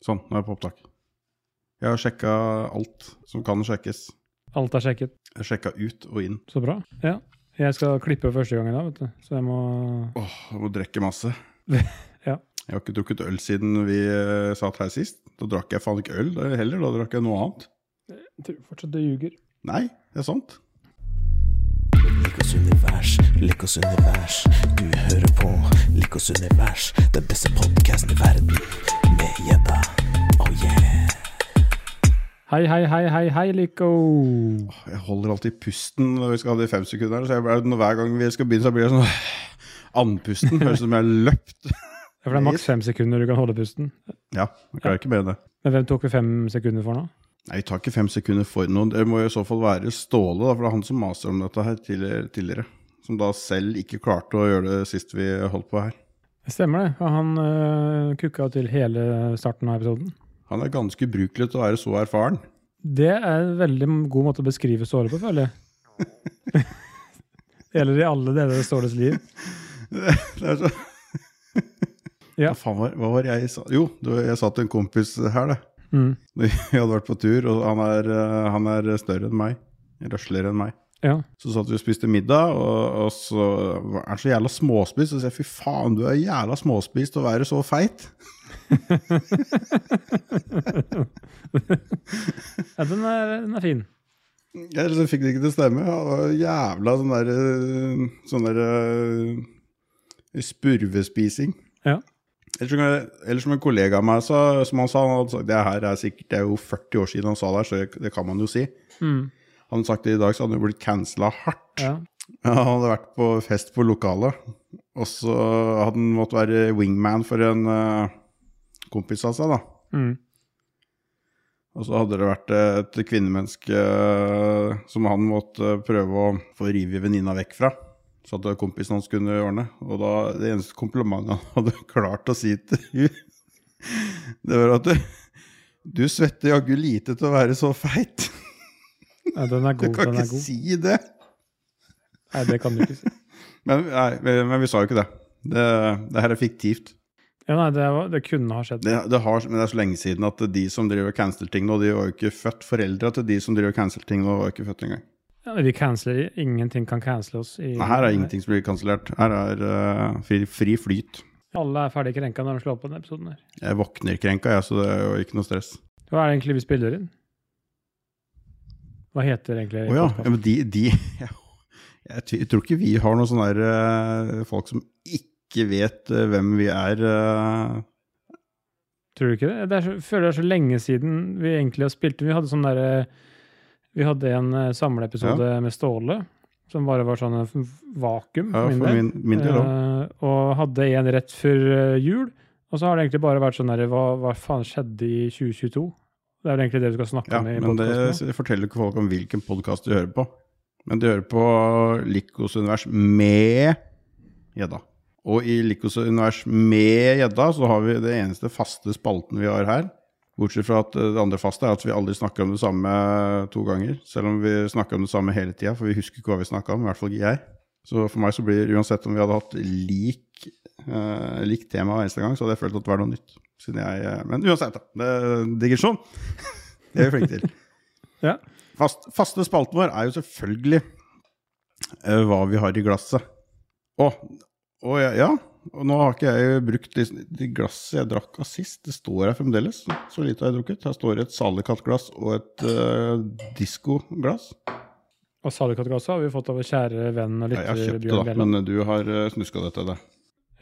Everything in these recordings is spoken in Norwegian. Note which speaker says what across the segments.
Speaker 1: Sånn, nå er jeg på opptak. Jeg har sjekka alt som kan sjekkes.
Speaker 2: Alt er sjekket.
Speaker 1: Jeg har sjekka ut og inn.
Speaker 2: Så bra. Ja. Jeg skal klippe første gangen da, vet du. Så jeg må
Speaker 1: Åh, jeg må drikke masse.
Speaker 2: Ja.
Speaker 1: Jeg har ikke drukket øl siden vi eh, satt her sist. Da drakk jeg faen ikke øl da heller, da drakk jeg noe annet.
Speaker 2: Tror fortsatt det ljuger.
Speaker 1: Nei, det er sant.
Speaker 3: Likos univers, Likos univers. Du hører på Likos univers, den beste podkasten i verden. Med gjedda. Oh yeah.
Speaker 2: Hei, hei, hei, hei, hei, Lico!
Speaker 1: Åh, Jeg holder alltid pusten når vi skal ha de fem sekundene, så jeg, blir- når hver gang vi skal begynne, så blir jeg sånn andpusten. Høres ut som jeg har løpt.
Speaker 2: Ja, For det er maks fem sekunder du kan holde pusten.
Speaker 1: Ja, jeg klarer ikke mer enn det.
Speaker 2: Men hvem tok vi fem sekunder for nå?
Speaker 1: Nei, Vi tar ikke fem sekunder for noen. Det må jo i så fall være Ståle, da, for det er han som maser om dette her tidligere. tidligere. Som da selv ikke klarte å gjøre det sist vi holdt på her.
Speaker 2: Det stemmer det. Ja, Han øh, kukka til hele starten av episoden.
Speaker 1: Han er ganske ubrukelig til å være så erfaren.
Speaker 2: Det er en veldig god måte å beskrive Ståle på, føler jeg. Det gjelder i alle deler av Ståles liv.
Speaker 1: Det er så...
Speaker 2: Ja.
Speaker 1: Hva faen var, hva var jeg sa? Jo, det var- jeg sa til en kompis her, det.
Speaker 2: Mm.
Speaker 1: Vi hadde vært på tur, og han er, eh, han er større enn meg. Røsligere enn meg.
Speaker 2: Ja.
Speaker 1: Så satt vi og spiste middag, og, og så er han så jævla småspist. Og så sier jeg fy faen, du er jævla småspist å være så feit.
Speaker 2: ja den, er, den er fin.
Speaker 1: Jeg liksom fikk det ikke til å stemme. Jeg var jævla sånn der øh, Sånn der øh, Spurvespising.
Speaker 2: Ja.
Speaker 1: Eller som, jeg- eller som en kollega av meg sa, som han sa, han hadde sagt det her er sikkert det er jo 40 år siden han sa det her, så jeg- det kan man jo si.
Speaker 2: Mm.
Speaker 1: Hadde han sagt det i dag, så hadde han jo blitt cancela hardt.
Speaker 2: ja.
Speaker 1: Han hadde vært på fest på lokalet, og så hadde han måttet være wingman for en øh, kompis av seg, da.
Speaker 2: Mm.
Speaker 1: Og så hadde det vært eh, et kvinnemenneske eh, som han måtte prøve å få rive venninna vekk fra. Så at kompisen hans kunne ordne. Og da, det eneste komplimentet han hadde klart å si til henne, det var at du, du svetter jaggu lite til å være så feit.
Speaker 2: ja, den er
Speaker 1: Du
Speaker 2: god.
Speaker 1: kan
Speaker 2: Den er
Speaker 1: ikke
Speaker 2: god.
Speaker 1: si det.
Speaker 2: Nei, det kan du ikke si.
Speaker 1: Men, nei, men men vi sa jo ikke det. Det, det her er fiktivt.
Speaker 2: Ja, nei, det, var, det kunne ha skjedd.
Speaker 1: Det, det, har, men det er så lenge siden at de som driver cancel-ting nå, de var jo ikke født. Foreldra til de som driver cancel-ting nå, var jo ikke født engang.
Speaker 2: Ja, men vi canceler Ingenting kan cancele oss. I,
Speaker 1: Nei, her er ingenting som blir kansellert. Her er eh, fri, fri flyt.
Speaker 2: Alle er ferdig krenka når de slår på denne episoden. her.
Speaker 1: Jeg våkner krenka, jeg, så det er jo ikke noe stress.
Speaker 2: Hva er det egentlig vi spiller inn? Hva heter egentlig
Speaker 1: Å ja.
Speaker 2: podcasten?
Speaker 1: ja, men de, de jeg, tv- jeg tror ikke vi har noen sånne der, eh, folk som ikke vet eh, hvem vi er. eh.
Speaker 2: Tror du ikke det? det er så, føler det er så lenge siden vi egentlig har spilt inn. Vi hadde sånn derre Vi hadde en eh, samleepisode med Ståle som bare var sånn eh, f- vakuum
Speaker 1: ja,
Speaker 2: for min
Speaker 1: for
Speaker 2: del.
Speaker 1: min, min del òg.
Speaker 2: Eh, og hadde en rett før eh, jul. Og så har det egentlig bare vært sånn der, hva, hva faen skjedde i 2022? Det er vel egentlig det vi skal snakke
Speaker 1: Ja,
Speaker 2: om i
Speaker 1: men det
Speaker 2: podkasten.
Speaker 1: forteller ikke folk om hvilken podkast de hører på. Men de hører på Likos univers med gjedda. Og i Likos univers med gjedda så har vi det eneste faste spalten vi har her. Bortsett fra at eh, det andre faste er at vi aldri snakker om det samme to ganger. Selv om vi snakker om det samme hele tida, for vi husker ikke hva vi snakka om. I hvert fall ikke jeg. Så for meg så blir uansett om vi hadde hatt lik, eh, lik tema hver eneste gang, så hadde jeg følt at det var noe nytt. Siden jeg, eh, men uansett, da. Det er digresjon. Det er vi flinke til.
Speaker 2: Ja.
Speaker 1: Fast, faste spalten vår er jo selvfølgelig eh, hva vi har i glasset. Å, å ja, ja. Og nå har ikke jeg brukt de, de glasset jeg drakk av sist. Det står her fremdeles. Så lite har jeg drukket. Her står et salekattglass og et uh, diskoglass.
Speaker 2: Og Salikatkassa har vi fått av vår kjære venn og
Speaker 1: Ja, jeg har
Speaker 2: lytter
Speaker 1: kjøpt det,
Speaker 2: Bjørn
Speaker 1: da,
Speaker 2: Bjelland.
Speaker 1: men du har eh, snuska det til deg.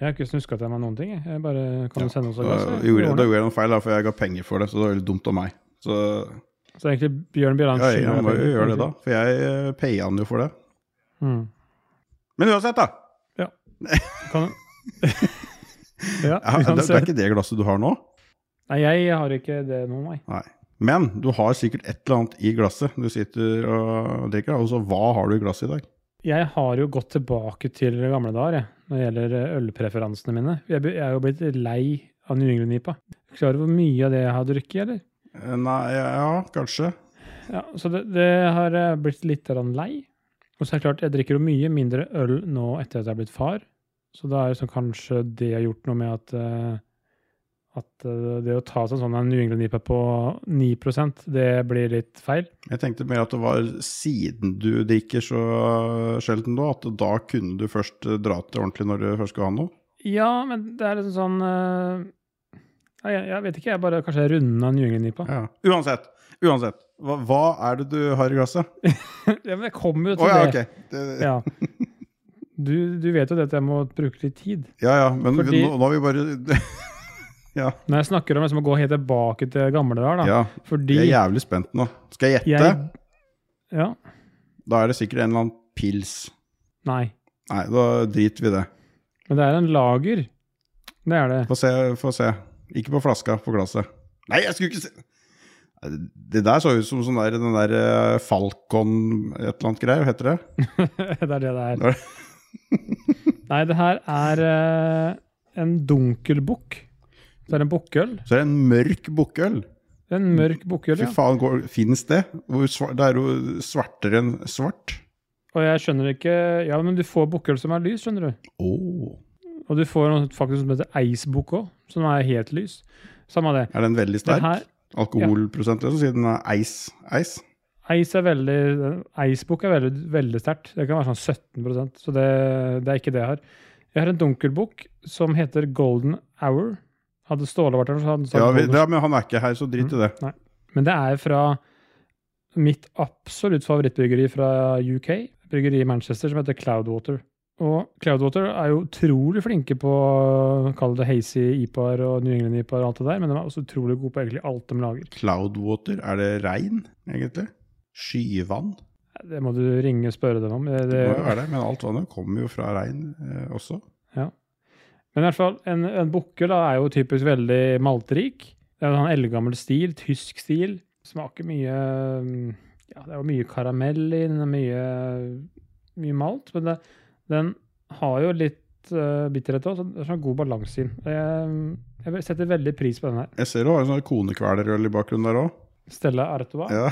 Speaker 2: Jeg har ikke snuska til meg noen ting. jeg. Jeg bare kan
Speaker 1: Ja,
Speaker 2: du sende oss
Speaker 1: Da
Speaker 2: et glass. jeg?
Speaker 1: gjorde, jeg- da
Speaker 2: Ordne.
Speaker 1: gjorde jeg noe feil, da, for jeg ga penger for det. Så det var veldig dumt av meg. Så
Speaker 2: Så egentlig Bjørn Bjelland
Speaker 1: ja, jeg,
Speaker 2: skylder
Speaker 1: må jo
Speaker 2: deg penger,
Speaker 1: gjøre det,
Speaker 2: egentlig.
Speaker 1: da. For jeg eh, payer han jo for det.
Speaker 2: Mm.
Speaker 1: Men uansett, da.
Speaker 2: Kan... ja,
Speaker 1: Ja, det, det er
Speaker 2: uansett.
Speaker 1: ikke det glasset du har nå?
Speaker 2: Nei, jeg har ikke det nå, nei.
Speaker 1: Men du har sikkert et eller annet i glasset du sitter og drikker. Og så hva har du i glasset i dag?
Speaker 2: Jeg har jo gått tilbake til gamle dager jeg, når det gjelder eh, ølpreferansene mine. Jeg be- jeg er jo blitt lei av New England-nipa. Klarer du hvor mye av det jeg har drukket, eller?
Speaker 1: Eh, Nei, ja, ja, kanskje.
Speaker 2: Ja, så det, det har eh, blitt litt grann lei. Og så er det klart, jeg drikker jo mye mindre øl nå etter at jeg har blitt far. Så da er det sånn, kanskje det har gjort noe med at, eh, at eh, det å ta seg en sånn en New England IPA på 9 det blir litt feil.
Speaker 1: Jeg tenkte mer at det var siden du drikker så sjelden nå, at da kunne du først eh, dra til ordentlig når du først skal ha noe.
Speaker 2: Ja, men det er liksom sånn eh, Nei, jeg, jeg vet ikke, jeg bare kanskje runda New England IPA.
Speaker 1: Ja. Uansett, uansett. Hva, hva er det du har i glasset?
Speaker 2: ja, men jeg kommer jo
Speaker 1: Å
Speaker 2: til
Speaker 1: ja,
Speaker 2: det.
Speaker 1: ok. Det, ja.
Speaker 2: Ja. Du, du vet jo det at jeg må bruke litt tid.
Speaker 1: ja men
Speaker 2: Fordi-
Speaker 1: nå, nå har vi bare Ja.
Speaker 2: Når jeg snakker om liksom å gå helt tilbake til gamle dager, da.
Speaker 1: ja.
Speaker 2: Fordi
Speaker 1: Jeg er jævlig spent nå. Skal jeg gjette?
Speaker 2: jeg- Ja.
Speaker 1: Da er det sikkert en eller annen pils.
Speaker 2: Nei.
Speaker 1: Nei, da driter vi i det.
Speaker 2: Men det er en lager. Det er det.
Speaker 1: Få se, få se. Ikke på flaska, på glasset. Nei, jeg skulle ikke se Nei, Det der så ut som sånn der, den der eh, Falcon et eller annet greier, heter det?
Speaker 2: det er det det
Speaker 1: Det er
Speaker 2: er. Nei, det her er eh, en dunkelbukk. Så er det en bukkøl.
Speaker 1: Så er det en mørk bukkøl.
Speaker 2: En mørk bukkøl,
Speaker 1: Fy
Speaker 2: ja.
Speaker 1: faen, går, finnes det? Hvor svar, det er jo svartere enn svart.
Speaker 2: Og jeg skjønner ikke Ja, men du får bukkøl som er lys, skjønner du.
Speaker 1: Oh.
Speaker 2: Og du får noe faktisk som heter eisbukk òg, som er helt lys. Samme det.
Speaker 1: Er den veldig
Speaker 2: Det
Speaker 1: sterk?
Speaker 2: her,
Speaker 1: Alkoholprosent, liksom, siden den er eis. eis.
Speaker 2: Eis er veldig, eisbukk er veldig, veldig sterkt. Det kan være sånn 17 så det, det er ikke det jeg har. Jeg har en dunkelbukk som heter Golden Hour. Hadde Ståle vært her, så hadde han sagt
Speaker 1: Ja, vi,
Speaker 2: Golden
Speaker 1: ja, men han er ikke her, så drit
Speaker 2: Mm.
Speaker 1: i det.
Speaker 2: Men det er fra mitt absolutt favorittbryggeri fra UK, et bryggeri i Manchester som heter Cloudwater. Og Cloudwater er jo utrolig flinke på å kalle det hazy IPAR og New England IPAR og alt det der, men de er også utrolig gode på egentlig alt de lager.
Speaker 1: Cloudwater, er det regn, egentlig? Skyvann?
Speaker 2: Det må du ringe og spørre dem om. Det,
Speaker 1: Det
Speaker 2: det,
Speaker 1: må jo være det, men alt vannet kommer jo fra regn eh, også.
Speaker 2: men i hvert fall, en, en bukkel da er jo typisk veldig maltrik. Det er jo en sånn eldgammel stil, tysk stil. Smaker mye mm, Ja, det er jo mye karamell i den, og mye, mye malt. Men det, den har jo litt eh, bitterhet òg, så det er sånn god balanse i den. Jeg, mm, jeg setter veldig pris på den her.
Speaker 1: Jeg ser du har en sånn konekvelerøl i bakgrunnen der òg.
Speaker 2: Stella Artois.
Speaker 1: Ja.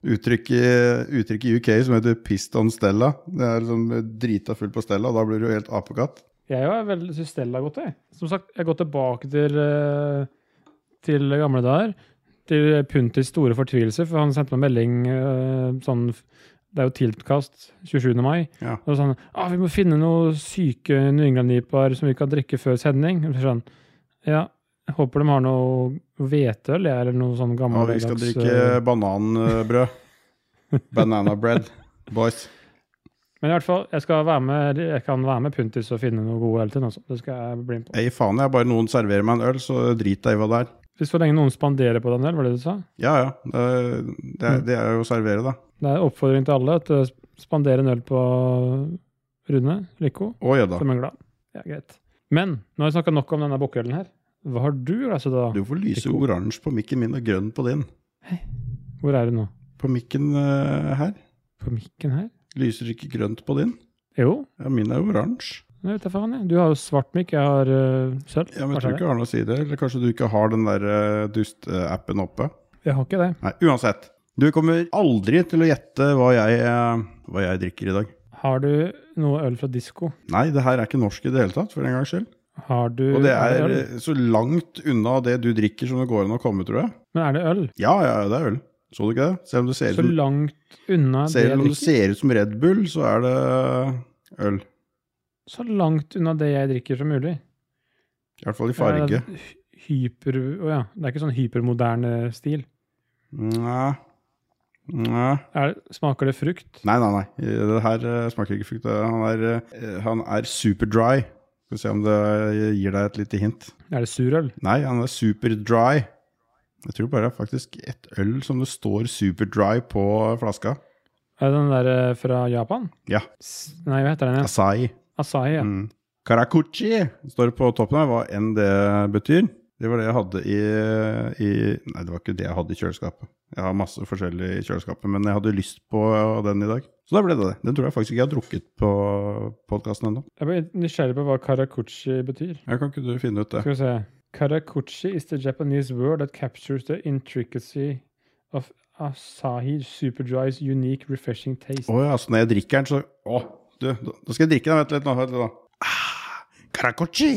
Speaker 1: Uttrykk, i- uttrykk i UK som heter 'pissed on Stella'. Det er liksom drita fullt på Stella, da blir du jo helt apekatt.
Speaker 2: Jeg er jo veldig synes Stella er godt, jeg. Som sagt, jeg går tilbake til, eh, til gamle dager. Til Puntis store fortvilelse, for han sendte meg en melding eh, sånn Det er jo tiltkast 27. mai.
Speaker 1: Ja.
Speaker 2: Og sånn ah, 'Vi må finne noen syke New England-nipaer som vi kan drikke før sending.' Og så Sånn, ja, jeg håper de har noe hveteøl, jeg, eller noe sånn
Speaker 1: Ja, vi
Speaker 2: gammeldags
Speaker 1: skal
Speaker 2: eh,
Speaker 1: drikke bananbrød. Banana bread, boys.
Speaker 2: Men i hvert fall, jeg, skal være med, jeg kan være med Puntis og finne noe gode øl til den også. Det skal jeg bli med på.
Speaker 1: Ei, faen, jeg bare noen serverer meg en øl, så drit deg i hva det er.
Speaker 2: Hvis så lenge noen spanderer på den øl, var det det du sa?
Speaker 1: Ja ja, det, det, er- det er jo å servere, da.
Speaker 2: Det er en oppfordring til alle at eh, spandere en øl på Rune Lyko,
Speaker 1: Å gjedda.
Speaker 2: som er glad. Ja, greit. Men nå har jeg snakka nok om denne bukkølen her. Hva har du i glasset da?
Speaker 1: Du får lyse oransje på mikken min og grønn på din.
Speaker 2: Hvor er du nå?
Speaker 1: På mikken eh, her
Speaker 2: På mikken her?
Speaker 1: lyser ikke grønt på din.
Speaker 2: Jo,
Speaker 1: Ja, min er oransje.
Speaker 2: jeg vet da faen. jeg. Du har jo svart mikk, jeg har eh, sølv.
Speaker 1: Ja, men jeg
Speaker 2: Kanskje
Speaker 1: tror ikke
Speaker 2: det?
Speaker 1: det har noe å si det. Eller kanskje du ikke har den der eh, dust-appen oppe.
Speaker 2: Jeg har ikke det.
Speaker 1: Nei, uansett. Du kommer aldri til å gjette hva jeg, eh, hva jeg drikker i dag.
Speaker 2: Har du noe øl fra disko?
Speaker 1: Nei, det her er ikke norsk i det hele tatt, for en gangs skyld.
Speaker 2: Har du
Speaker 1: Og det er
Speaker 2: øl?
Speaker 1: eh, så langt unna det du drikker som det går an å komme, tror jeg.
Speaker 2: Men er det øl?
Speaker 1: Ja, ja, det er øl. Så du ikke det? Selv om det ser,
Speaker 2: Så
Speaker 1: ut
Speaker 2: langt unna
Speaker 1: som,
Speaker 2: det
Speaker 1: selv
Speaker 2: jeg
Speaker 1: om det
Speaker 2: drikker?
Speaker 1: ser ut som Red Bull, så er det eh, øl.
Speaker 2: Så langt unna det jeg drikker som mulig.
Speaker 1: I hvert fall i farge.
Speaker 2: Eh, hy- Hyper... Å ja. Det er ikke sånn hypermoderne stil.
Speaker 1: Nei. Nei.
Speaker 2: Er, det- smaker det frukt?
Speaker 1: Nei, nei, nei. Det her eh, smaker ikke frukt. Han er, eh, han er super dry. Skal vi se om det eh, gir deg et lite hint.
Speaker 2: Er det surøl?
Speaker 1: Nei, han er super dry. Jeg tror bare det er faktisk et øl som det står super dry på flaska.
Speaker 2: Er det den der eh, fra Japan?
Speaker 1: Ja.
Speaker 2: S nei, hva heter den? igjen?
Speaker 1: Asahi.
Speaker 2: Asahi, ja.
Speaker 1: Mm. Karakuchi står det på toppen her, hva enn det betyr. Det var det jeg hadde i, i Nei, det var ikke det jeg hadde i kjøleskapet. Jeg har masse forskjellig i kjøleskapet, men jeg hadde lyst på den i dag. Så da ble det det. Den tror jeg faktisk ikke jeg har drukket på podkasten ennå.
Speaker 2: Jeg ble nysgjerrig på hva karakuchi betyr.
Speaker 1: Ja, Kan ikke du finne ut det?
Speaker 2: Skal vi se. Karakuchi is the Japanese word that captures the intricacy of Asahi Superdry's unique refreshing taste.
Speaker 1: Å ja, så når jeg drikker den, så Å, du, da da skal jeg drikke den. Vent litt nå. Vent litt nå. Ah, Karakochi!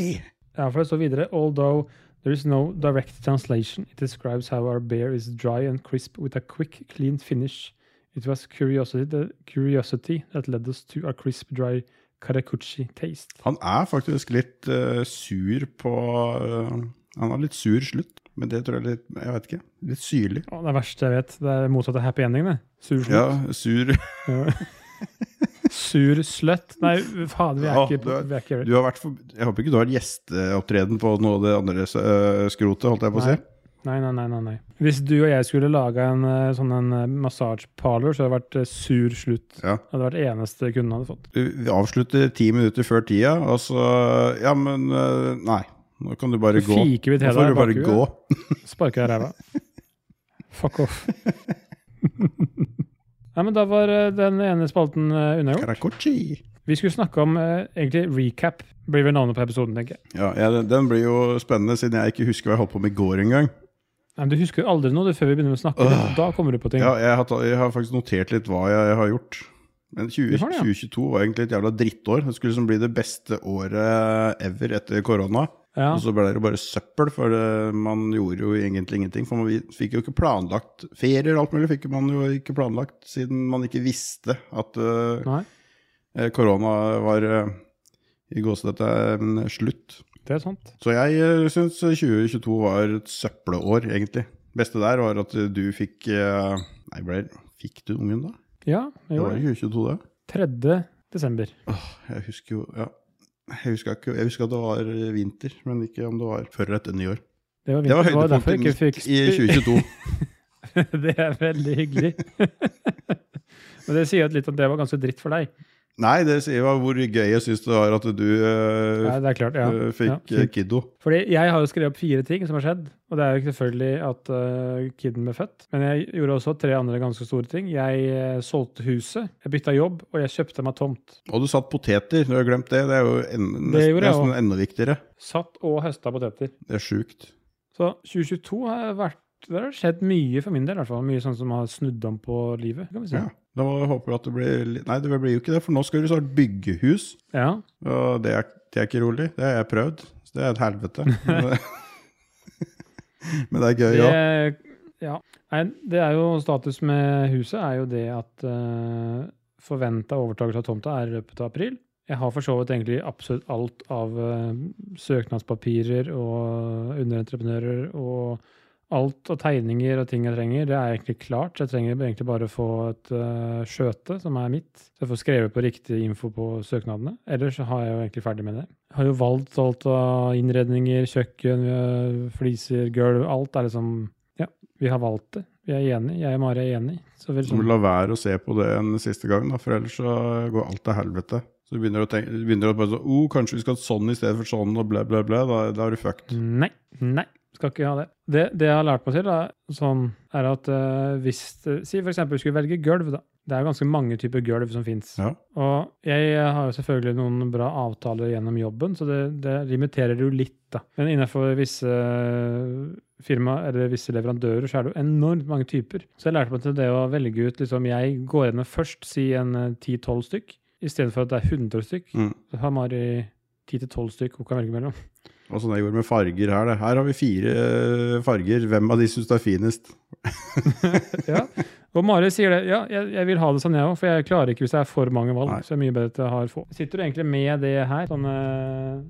Speaker 2: Ja, for det står videre. Although There is no direct translation. It describes how our beer is dry and crisp with a quick, clean finish. It was curiosity, the curiosity that led us to a crisp, dry Karakuchi taste.
Speaker 1: Han er faktisk litt eh, sur på eh, Han har litt sur slutt, men det tror jeg er litt Jeg vet ikke. Litt syrlig.
Speaker 2: Å, det er verste jeg vet. Det er motsatt av happy ending, det. Sur slutt.
Speaker 1: Ja, sur.
Speaker 2: Sur slutt. Nei, fader, vi er
Speaker 1: Ja,
Speaker 2: ikke,
Speaker 1: du er-
Speaker 2: vi er ikke
Speaker 1: Du har vært for, jeg håper ikke du har gjesteopptreden på noe av det andre eh, skrotet, holdt jeg på å si.
Speaker 2: Nei, nei, nei, nei, nei. Hvis du og jeg skulle laga en eh, sånn en eh, massasjeparlor, så hadde det vært eh, sur slutt.
Speaker 1: Ja.
Speaker 2: Det hadde vært eneste kunden hadde fått.
Speaker 1: Vi avslutter ti minutter før tida, og så Ja, men eh, Nei. Nå kan du bare
Speaker 2: Så
Speaker 1: gå.
Speaker 2: fiker vi
Speaker 1: Nå
Speaker 2: til deg
Speaker 1: får du
Speaker 2: i
Speaker 1: bare
Speaker 2: bakhuet.
Speaker 1: gå.
Speaker 2: Sparka i ræva. Fuck off. Nei, men Da var eh, den ene spalten eh, unnagjort.
Speaker 1: Karakochi.
Speaker 2: Vi skulle snakke om eh, egentlig recap, blir vel navnet på episoden, tenker jeg.
Speaker 1: Ja, ja, den, den blir jo spennende, siden jeg ikke husker hva jeg holdt på med i går engang.
Speaker 2: Nei, men Du husker jo aldri noe du, før vi begynner å snakke. litt. Da kommer du på ting.
Speaker 1: Ja, jeg, har ta- jeg har faktisk notert litt hva jeg, har gjort. Men 20,
Speaker 2: Du har det, ja.
Speaker 1: 2022 var egentlig et jævla drittår. Det skulle liksom bli det beste året ever etter korona.
Speaker 2: Ja.
Speaker 1: Og så ble det bare søppel, for det, man gjorde jo egentlig ingenting. For man vi- fikk jo ikke planlagt ferier og alt mulig, fikk man jo ikke planlagt siden man ikke visste at øh,
Speaker 2: Nei,
Speaker 1: eh, korona var øh, i gåsehudete øh, slutt.
Speaker 2: det er sant.
Speaker 1: Så jeg uh, syns 2022 var et søppelår, egentlig. Beste der var at eh, du fikk eh, Nei, ble, fikk du ungen da?
Speaker 2: Ja,
Speaker 1: Det
Speaker 2: jo.
Speaker 1: var i 2022, det.
Speaker 2: 3. desember.
Speaker 1: Jeg husker jo ja. Jeg husker, ikke, jeg husker at det var eh, vinter, men ikke om det var før eller etter nyår.
Speaker 2: Det var,
Speaker 1: Det var
Speaker 2: vinter. Det var
Speaker 1: høydepunktet
Speaker 2: derfor jeg
Speaker 1: mitt
Speaker 2: ikke fikk
Speaker 1: i
Speaker 2: spi-
Speaker 1: 2022.
Speaker 2: Det er veldig hyggelig. Men det sier jo litt at det var ganske dritt for deg.
Speaker 1: Nei, det sier jo hvor gøy jeg syns det var at du eh,
Speaker 2: Nei, det er klart, ja.
Speaker 1: eh,
Speaker 2: ja,
Speaker 1: fikk eh,
Speaker 2: fint.
Speaker 1: kiddo.
Speaker 2: Fordi jeg har jo skrevet opp fire ting som har skjedd. Og det er jo selvfølgelig at eh, kiden ble født. Men jeg gjorde også tre andre ganske store ting. Jeg eh, solgte huset, jeg bytta jobb, og jeg kjøpte meg tomt.
Speaker 1: Og du satt poteter, du har glemt det. Det er jo en, nesten,
Speaker 2: Det gjorde jeg
Speaker 1: nesten enda viktigere.
Speaker 2: Satt og høsta poteter.
Speaker 1: Det er sjukt.
Speaker 2: Så 2022 har vært det har skjedd mye for min del, i hvert fall. Mye sånn som har snudd om på livet. kan vi si.
Speaker 1: Ja. Da må vi håpe at det blir litt- Nei, det blir jo ikke det, for nå skal du snart bygge hus.
Speaker 2: ja.
Speaker 1: Og det er, det er ikke rolig. Det har jeg prøvd. Så det er et helvete. Men det er gøy òg.
Speaker 2: Det, ja. Nei, det er jo status med huset, er jo det at uh, forventa overtakelse av tomta er i løpet av april. Jeg har for så vidt egentlig absolutt alt av eh, søknadspapirer og underentreprenører og alt av tegninger og ting jeg trenger. Det er egentlig klart. så Jeg trenger egentlig bare å få et eh, skjøte som er mitt, så jeg får skrevet på riktig info på søknadene. Ellers så har jeg jo egentlig ferdig med det. Jeg har jo valgt alt av innredninger, kjøkken, vi har fliser, gulv. Alt er liksom Ja, vi har valgt det. Vi er enige. Jeg og Mari er enige. Så vi
Speaker 1: Så må
Speaker 2: liksom,
Speaker 1: du la være å se på det en siste gang, da, for ellers så går alt til helvete. Så du begynner å tenke du begynner å bare sånn oh, kanskje vi skal ha sånn i stedet for sånn, og blæ, blæ, blæ. Da, da er du fucked.
Speaker 2: Nei. Nei. Skal ikke ha det. Det, det jeg har lært meg til, er, sånn, er at eh, hvis eh, Si f.eks. vi skulle velge gulv, da. Det er jo ganske mange typer gulv som fins.
Speaker 1: Ja.
Speaker 2: Og jeg eh, har jo selvfølgelig noen bra avtaler gjennom jobben, så det, det limiterer jo litt, da. Men innenfor visse eh, firma eller visse leverandører så er det jo enormt mange typer. Så jeg lærte meg til det å velge ut liksom Jeg går gjennom først, si en eh, 10-12 stykk, istedenfor at det er 100 stykk.
Speaker 1: Mm.
Speaker 2: Så har Mari 10-12 stykk hun kan velge mellom.
Speaker 1: Og sånn jeg gjorde med farger her. Det. Her har vi fire eh, farger. Hvem av de syns du er finest?
Speaker 2: Ja. Og Mari sier det. Ja, jeg, jeg vil ha det sånn, jeg òg, for jeg klarer ikke hvis det er for mange valg.
Speaker 1: Nei.
Speaker 2: Så det er mye bedre at jeg har få. Sitter du egentlig med det her? Sånne,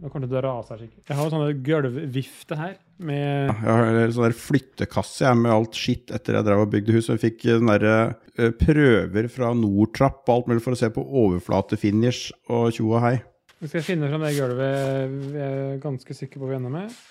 Speaker 2: nå kommer det til å rase her, sikkert. Jeg har jo sånne gulvvifte her med
Speaker 1: Jeg har en sånn der flyttekasse jeg, med alt skitt etter jeg drev og bygde hus. Og jeg fikk eh, den derre, eh, prøver fra Nordtrapp og alt mulig for å se på overflatefinish og tjo og hei.
Speaker 2: Nå skal jeg finne fram det gulvet vi er ganske sikre på vi ender med.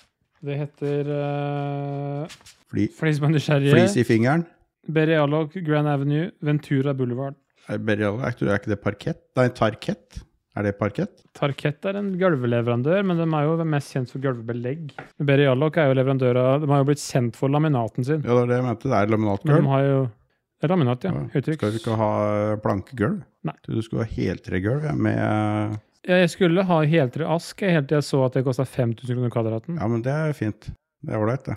Speaker 2: Det heter uh,
Speaker 1: Fli,
Speaker 2: Flis på
Speaker 1: flis
Speaker 2: nysgjerrige.
Speaker 1: i fingeren.
Speaker 2: Berealog, Grand Avenue, Ventura Boulevard.
Speaker 1: Er, Berial, er, ikke, er ikke det parkett? Nei, tarkett. Er det parkett?
Speaker 2: Tarkett er en gulvleverandør, men de er jo mest kjent for gulvbelegg. Berealog er jo leverandør av De har jo blitt kjent for laminaten sin.
Speaker 1: Ja, det er det jeg mente. Det er
Speaker 2: Men
Speaker 1: laminatgulv.
Speaker 2: de har jo det er laminat, ja.
Speaker 1: Ja,
Speaker 2: Høytrykk.
Speaker 1: Skal du ikke ha eh, plankegulv?
Speaker 2: Nei.
Speaker 1: Du skulle ha heltregulv ja, med Ja,
Speaker 2: Ja, Jeg skulle ha heltre ask jeg, helt til jeg så at det kosta 5000 kroner kvadraten. Ja.
Speaker 1: men det er fint. Det er ålreit, det.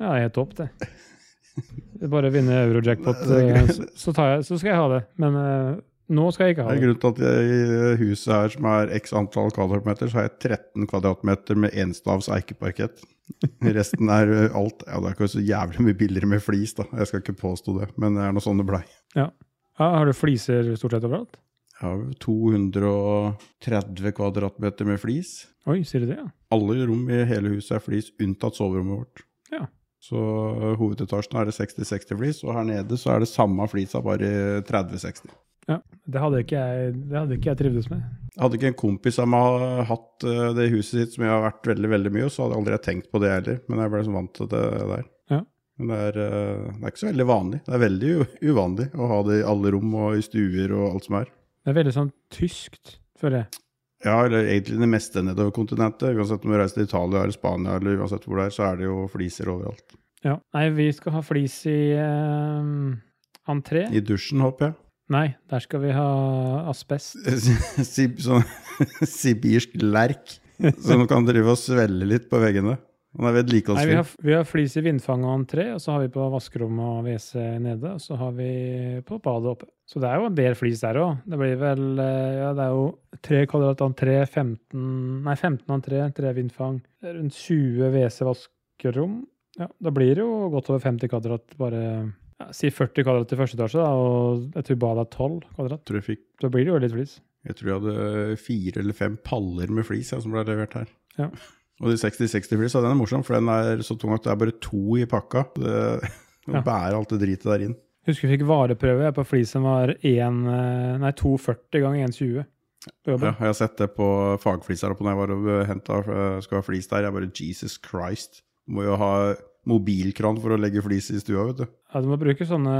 Speaker 2: det er helt topp, det. Det er Bare å vinne eurojackpot,
Speaker 1: Det er
Speaker 2: eh,
Speaker 1: greit.
Speaker 2: så, så, tar jeg, så skal jeg ha det. Men eh, Nå skal jeg ikke
Speaker 1: Det
Speaker 2: ha
Speaker 1: er
Speaker 2: det.
Speaker 1: grunnen til at jeg, i huset her som er x antall kvadratmeter, så har jeg 13 kvadratmeter med enstavs eikeparkett. Resten er ø, alt Ja, det er ikke så jævlig mye billigere med flis, da. Jeg skal ikke påstå det, men det er nå sånn det blei.
Speaker 2: Ja, har du fliser stort sett overalt?
Speaker 1: Jeg har vel 230 kvadratmeter med flis.
Speaker 2: Oi, sier du det, ja?
Speaker 1: Alle rom i hele huset er flis, unntatt soverommet vårt.
Speaker 2: Ja.
Speaker 1: Så ø, hovedetasjen er det 60-60 flis, og her nede så er det samme flisa, bare 30-60.
Speaker 2: Det hadde ikke jeg, det hadde ikke jeg trivdes med.
Speaker 1: Hadde ikke en kompis av meg hatt eh, det huset sitt som jeg har vært veldig veldig mye, så hadde jeg aldri tenkt på det heller. Men jeg ble liksom vant til det der.
Speaker 2: Ja.
Speaker 1: Men det er, eh, det er ikke så veldig vanlig. Det er veldig u- uvanlig å ha det i alle rom og i stuer og alt som er.
Speaker 2: Det er veldig sånn tyskt, føler jeg.
Speaker 1: Ja, eller egentlig det meste nedover kontinentet. Uansett om du reiser til Italia eller Spania eller uansett hvor det er, så er det jo fliser overalt.
Speaker 2: Ja. Nei, vi skal ha flis i eh, entré.
Speaker 1: I dusjen, håper jeg.
Speaker 2: Nei, der skal vi ha asbest.
Speaker 1: Sib, sånn sibirsk lerk som kan drive og svelle litt på veggene. Han er
Speaker 2: Nei, vi
Speaker 1: vedlikeholdsfri.
Speaker 2: har, vi har flis i vindfang og entré, og så har vi på vaskerommet og WC nede, og så har vi på badet oppe. Så det er jo en del flis der òg. Det blir vel eh, Ja, det er jo tre kvadrat entré, 15 Nei, 15 entré, tre vindfang, det er rundt 20 WC-vaskerom. Ja, da blir det jo godt over 50 kvadrat, bare ja, Si 40 kvadrat i første etasje, da, og jeg tror badet er 12 kvadrat.
Speaker 1: Tror jeg fikk
Speaker 2: Da blir det jo litt flis.
Speaker 1: Jeg tror jeg hadde fire eller fem paller med flis ja, som ble levert her.
Speaker 2: Ja.
Speaker 1: Og de 60-60-flisa, den er morsom, for den er så tung at det er bare to i pakka. Det
Speaker 2: Ja.
Speaker 1: ja. bærer alt det dritet der inn.
Speaker 2: Husker vi fikk vareprøve på flis som var 1, nei, 2,40 ganger 1,20. på jobben.
Speaker 1: Ja, jeg har sett det på fagflis her oppe når jeg var og henta skal ha flis der. Jeg bare Jesus Christ. Du må jo ha mobilkran for å legge flis i stua, vet du.
Speaker 2: Ja, du må bruke sånne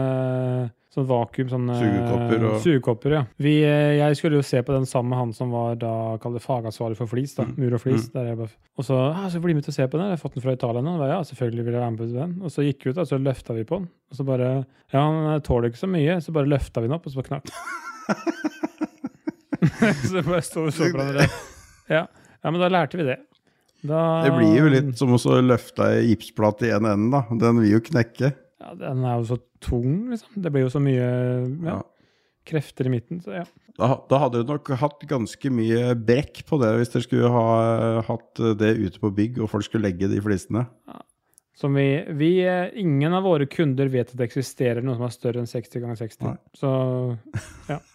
Speaker 2: sånn vakuum, sånne
Speaker 1: Sugekopper og-
Speaker 2: sugekopper, ja. Vi, eh, jeg skulle jo se på den sammen med han som var da kall det fagansvarlig for flis,
Speaker 1: Mm.
Speaker 2: da, mur og flis. Der jeg bare, og så ah, så bli med til å se på den, jeg har fått den fra Italia nå. Jeg bare, Ja, selvfølgelig vil jeg være med på den. Og så gikk vi ut, da, så løfta vi på den. Og så bare Ja, han tåler ikke så mye, så bare løfta vi den opp, og så bare knakk. så bare sto vi så på hverandre. Ja. ja, men da lærte vi det. Da-
Speaker 1: Det blir jo
Speaker 2: Ah.
Speaker 1: litt som å løfte ei gipsplate i en ende, da. Den vil jo knekke.
Speaker 2: ja, Den er jo så tung, liksom. Det blir jo så mye ja,
Speaker 1: Ja.
Speaker 2: krefter i midten. Så ja.
Speaker 1: Da, da hadde du nok hatt ganske mye brekk på det hvis dere skulle ha eh, hatt det ute på bygg og folk skulle legge de flisene.
Speaker 2: Som vi, vi eh, Ingen av våre kunder vet at det eksisterer noe som er større enn 60 ganger 60.
Speaker 1: Nei.
Speaker 2: Så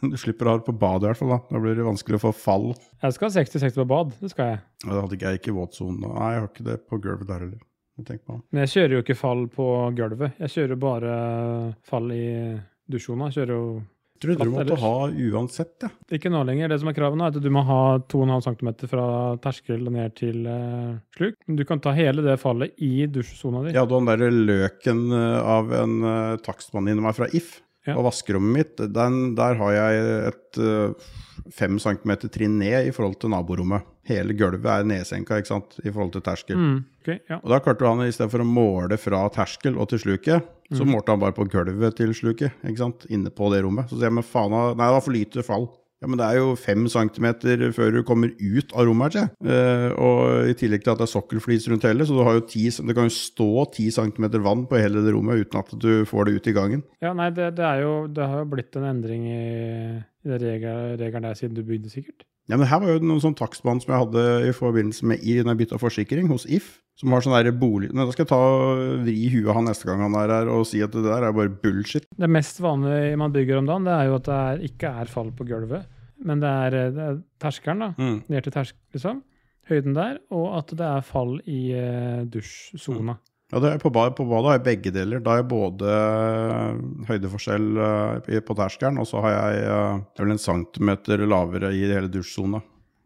Speaker 1: Du slipper å ha det på badet i hvert fall, da. Da blir det vanskelig å få fall.
Speaker 2: jeg skal ha 60-60 på bad, det skal jeg.
Speaker 1: Ja, Det hadde ikke jeg ikke i våtsonen. da. Nei, jeg har ikke det på gulvet der heller. Jeg tenker på han.
Speaker 2: Men jeg kjører jo ikke fall på gulvet. Jeg kjører jo bare fall i dusjona. Jeg Kjører jo
Speaker 1: Jeg Tror dere
Speaker 2: Flatt
Speaker 1: måtte
Speaker 2: ellers.
Speaker 1: ha uansett, ja.
Speaker 2: ikke nå lenger. Det som er kravet nå, er at du må ha 2,5 cm fra terskel og ned til eh, sluk. Men du kan ta hele det fallet i dusjsona di.
Speaker 1: Jeg hadde han derre løken eh, av en eh, takstmann inni meg fra If.
Speaker 2: Ja.
Speaker 1: Og vaskerommet mitt, den, der har jeg et eh, fem centimeter trinn ned i forhold til naborommet. Hele gulvet er nedsenka, ikke sant, i forhold til terskel.
Speaker 2: Mm, ok, ja.
Speaker 1: Og da klarte han i stedet for å måle fra terskel og til sluket, så målte han bare på gulvet til sluket, ikke sant? Inne på det rommet. Så sier jeg, men faen, han- nei, det var for lite fall. Ja, men det er jo fem centimeter før du kommer ut av rommet her, sier jeg. Eh, og i tillegg til at det er sokkelflis rundt hele, så du har jo 10 cm det kan jo stå ti centimeter vann på hele det rommet uten at du får det ut i gangen.
Speaker 2: Ja, nei, det, det, er jo, det har jo blitt en endring i, i det regel- regelen der siden du bygde, sikkert.
Speaker 1: Ja, men her var jo noen sånn takstmann som jeg hadde i forbindelse med i når jeg bytta forsikring hos If, som har sånn der bolig... Nei, da skal jeg ta og vri i huet av han neste gang han er her og si at det der er bare bullshit.
Speaker 2: Det mest vanlige man bygger om dagen, det er jo at det er, ikke er fall på gulvet, men det er, eh, det er terskelen, da. Ned til tersk, liksom. Høyden der, og at det er fall i eh, dusjsona.
Speaker 1: Ja, det er på, ba- på badet har jeg begge deler. Da har jeg både eh, høydeforskjell eh, i- på terskelen, og så har jeg eh, det er vel en centimeter lavere i hele dusjsona,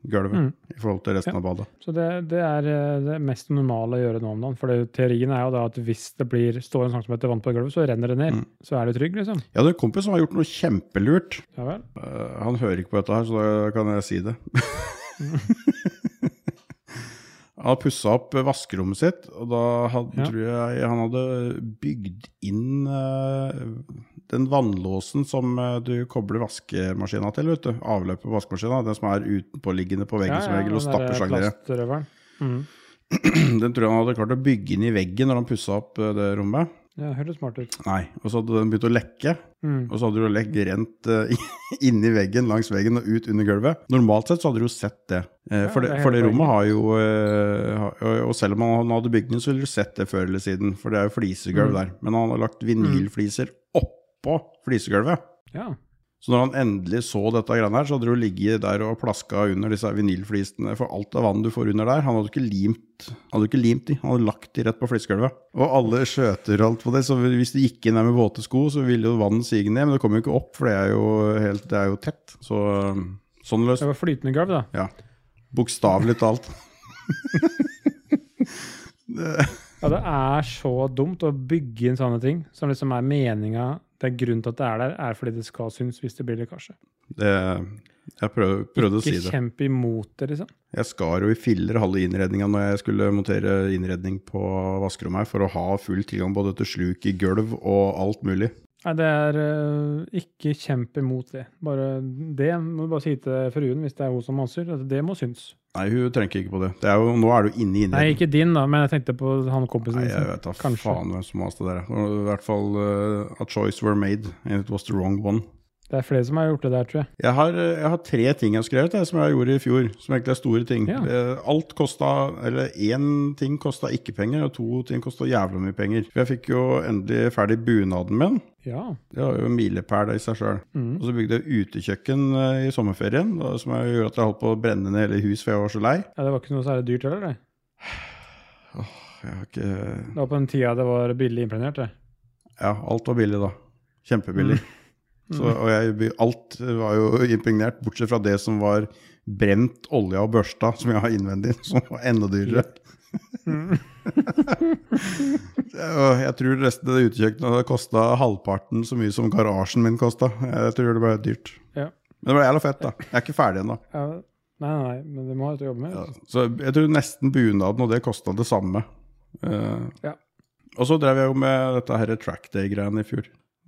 Speaker 1: gulvet,
Speaker 2: Mm.
Speaker 1: i forhold til resten av badet.
Speaker 2: Så det, det er eh, det mest normale å gjøre nå om dagen. For det, teorien er jo da at hvis det blir, står en centimeter vann på gulvet, så renner det ned.
Speaker 1: Mm.
Speaker 2: Så er du trygg, liksom.
Speaker 1: Jeg hadde en kompis som har gjort noe kjempelurt.
Speaker 2: Ja vel.
Speaker 1: Eh, han hører ikke på dette her, så da kan jeg si det. han har pussa opp vaskerommet sitt, og da hadde,
Speaker 2: Ja.
Speaker 1: tror jeg han hadde bygd inn eh, den vannlåsen som eh, du kobler vaskemaskina til, vet du. Avløpet på vaskemaskina, den som er utenpåliggende på veggen som regel, og
Speaker 2: den der
Speaker 1: stapper slangere.
Speaker 2: plastrøveren. Mm.
Speaker 1: Den tror jeg han hadde klart å bygge inn i veggen når han pussa opp eh, det rommet.
Speaker 2: Det høres smart ut.
Speaker 1: Nei. Og så hadde den begynt å lekke.
Speaker 2: Mm.
Speaker 1: Og så hadde jo legg rent eh, inni veggen, langs veggen og ut under gulvet. Normalt sett så hadde du jo sett det. Eh, for,
Speaker 2: Ja,
Speaker 1: det
Speaker 2: det er hele
Speaker 1: for det
Speaker 2: poenget.
Speaker 1: rommet har jo eh, har- og- Og selv om han hadde bygd den, så ville du sett det før eller siden. For det er jo flisegulv
Speaker 2: Mm.
Speaker 1: der. Men han har lagt vinylfliser oppå flisegulvet.
Speaker 2: Ja.
Speaker 1: Så når han endelig så dette greiene her, så hadde det jo ligget der og plaska under disse her vinylflisene for alt av vann du får under der. Han hadde jo ikke limt, han hadde jo ikke limt de, han hadde lagt de rett på flisegulvet. Og alle skjøter og alt på det, så hvis du gikk inn der med våte sko, så ville jo vannet sige ned, men det kom jo ikke opp, for det er jo, helt, det er jo tett. Så øhm, sånn løst.
Speaker 2: Det var flytende gulv, da.
Speaker 1: Ja. Bokstavelig talt.
Speaker 2: Ja, det er så dumt å bygge inn sånne ting som liksom er meninga Det er grunnen til at det er der, er fordi det skal synes hvis det blir lekkasje.
Speaker 1: Det, jeg prøv, prøvde å si
Speaker 2: Ikke
Speaker 1: det.
Speaker 2: kjemp imot det, liksom.
Speaker 1: Jeg skar jo i filler halve innredninga når jeg skulle montere innredning på vaskerommet her, for å ha full tilgang både til sluk i gulv og alt mulig.
Speaker 2: Nei, det er øh, ikke kjemp imot det. Bare det må du bare si til fruen hvis det er hun som maser. at Det må synes.
Speaker 1: Nei, hun trenger ikke på det. det er jo, nå er du inne i
Speaker 2: Nei,
Speaker 1: innredningen.
Speaker 2: ikke din, da, men jeg tenkte på han kompisen
Speaker 1: Nei,
Speaker 2: din.
Speaker 1: jeg
Speaker 2: som-
Speaker 1: vet da
Speaker 2: Kanskje.
Speaker 1: faen hvem som maste der. Det var I hvert fall eh, A choice were made, and it was the wrong one.
Speaker 2: Det er flere som har gjort det der, tror jeg.
Speaker 1: Jeg har, eh, jeg har tre ting jeg har skrevet jeg, som jeg gjorde i fjor, som egentlig er store ting.
Speaker 2: Ja.
Speaker 1: Eh, Alt kosta, eller én ting kosta ikke penger, og to ting kosta jævla mye penger. For jeg fikk jo endelig ferdig bunaden min.
Speaker 2: Ja.
Speaker 1: Det var jo en milepæl i seg sjøl.
Speaker 2: Mm.
Speaker 1: Og så bygde jeg utekjøkken eh, i sommerferien, da, som jeg gjorde at jeg holdt på å brenne ned hele hus, for jeg var så lei.
Speaker 2: ja. Det var ikke noe særlig dyrt heller, det.
Speaker 1: Jeg har ikke...
Speaker 2: Det var på den tida det var billig implanert, det.
Speaker 1: Ja, alt var billig da. Kjempebillig. Så, og jeg, by- alt var jo impregnert, bortsett fra det som var brent olje og børsta, som jeg har innvendig, som var enda dyrere. Og jeg tror resten av det utekjøkkenet hadde kosta halvparten så mye som garasjen min kosta. Jeg tror det ble dyrt.
Speaker 2: Ja.
Speaker 1: Men det ble jævla fett, da. Jeg er ikke ferdig ennå.
Speaker 2: Ja. Nei, nei, nei, men det må ha et å jobbe med.
Speaker 1: Ja, så jeg tror nesten bunaden og det kosta det samme. Eh,
Speaker 2: Ja.
Speaker 1: Og så drev jeg jo med dette her track day-greiene i fjor.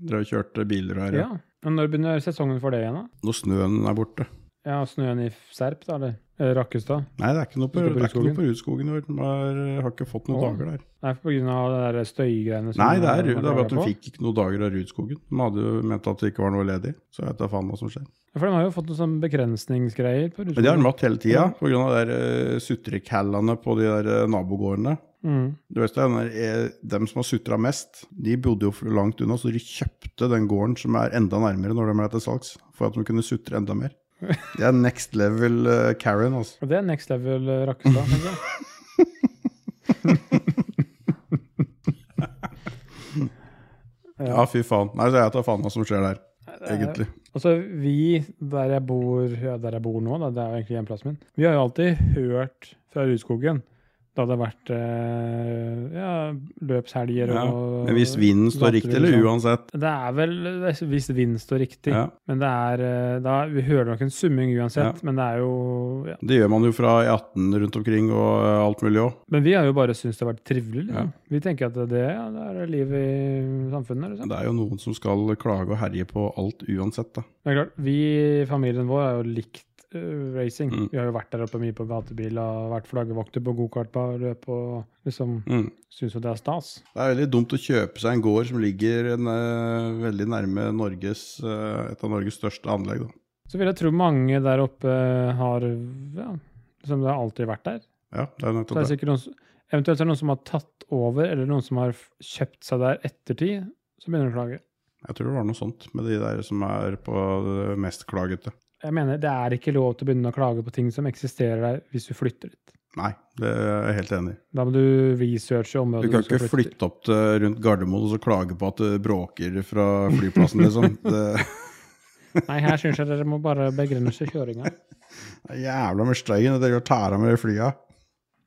Speaker 1: Drev og kjørte biler her.
Speaker 2: Ja. Men når begynner sesongen for det igjen, da?
Speaker 1: Når snøen er borte.
Speaker 2: Ja, Snøen i Serp, da, eller Eh, Rakkestad?
Speaker 1: Nei, det er ikke noe på,
Speaker 2: Ikke på
Speaker 1: det er ikke noe
Speaker 2: Rudskogen?
Speaker 1: på Rudskogen. i år. Den har- har ikke fått noen
Speaker 2: Å.
Speaker 1: dager der.
Speaker 2: Nei, på grunn av det der støygreiene som
Speaker 1: Nei, det er, det
Speaker 2: man
Speaker 1: er
Speaker 2: klager
Speaker 1: bare at de
Speaker 2: på.
Speaker 1: fikk ikke noen dager av Rudskogen. De hadde jo ment at det ikke var noe ledig. Så jeg vet da faen hva som skjer.
Speaker 2: Ja, For de har jo fått noen sånne begrensningsgreier på
Speaker 1: Men de har de
Speaker 2: Rudskogen.
Speaker 1: hatt hele tida pga. sutrekallene eh, på de der eh, nabogårdene.
Speaker 2: Mm.
Speaker 1: Du vet, det, når eh, dem som har sutra mest, de bodde jo for langt unna, så de kjøpte den gården som er enda nærmere når de er til salgs, for at de kunne sutre enda mer. Det er next level eh, Karen, altså.
Speaker 2: Og det er next level eh, Rakkestad. tenker jeg.
Speaker 1: Ja, fy faen. Nei, så jeg tar faen hva som skjer der,
Speaker 2: er-
Speaker 1: egentlig.
Speaker 2: Altså, vi, der jeg bor, ja, der jeg bor nå, da, det er jo egentlig hjemplassen min, vi har jo alltid hørt fra Rudskogen da det har vært eh, ja, løpshelger
Speaker 1: Ja.
Speaker 2: og
Speaker 1: Men hvis vinden står riktig, eller uansett
Speaker 2: Det er vel det er hvis vind står riktig.
Speaker 1: Ja.
Speaker 2: Men det er eh, da, Vi hører nok en summing uansett, men det er jo ja.
Speaker 1: Det gjør man jo fra E18 rundt omkring og eh, alt mulig òg.
Speaker 2: Men vi har jo bare syntes det har vært trivelig.
Speaker 1: Ja.
Speaker 2: Liksom. Vi tenker at det, ja, det er livet i samfunnet. Liksom.
Speaker 1: Det er jo noen som skal klage og herje på alt uansett, da.
Speaker 2: Men det er klart, vi i familien vår har jo likt eh, racing.
Speaker 1: Mm.
Speaker 2: Vi har jo vært der oppe mye på gatebil og vært flaggevokter på gokartløp og liksom
Speaker 1: Mm.
Speaker 2: syns jo det er stas.
Speaker 1: Det er veldig dumt å kjøpe seg en gård som ligger en, eh, veldig nærme Norges, eh, et av Norges største anlegg, da.
Speaker 2: Så vil jeg tro mange der oppe har ja, liksom det har alltid vært der.
Speaker 1: Ja, det er
Speaker 2: Så
Speaker 1: nettopp
Speaker 2: det
Speaker 1: det.
Speaker 2: er sikkert noen, som- eventuelt er det noen som har tatt over, eller noen som har f- kjøpt seg der ettertid, så begynner de å klage.
Speaker 1: Jeg tror det var noe sånt med de der som er på det mest klagete.
Speaker 2: Jeg mener, det er ikke lov til å begynne å klage på ting som eksisterer der, hvis du flytter dit.
Speaker 1: Nei, det er jeg helt enig i.
Speaker 2: Da må du researche
Speaker 1: Du
Speaker 2: området
Speaker 1: kan
Speaker 2: skal
Speaker 1: ikke
Speaker 2: flytte til.
Speaker 1: flytte opp til rundt Gardermoen og så klage på at det bråker fra flyplassen, liksom. Det
Speaker 2: Nei, her syns jeg dere må bare begrense kjøringa.
Speaker 1: er jævla med støyen, det går tæra med de flya.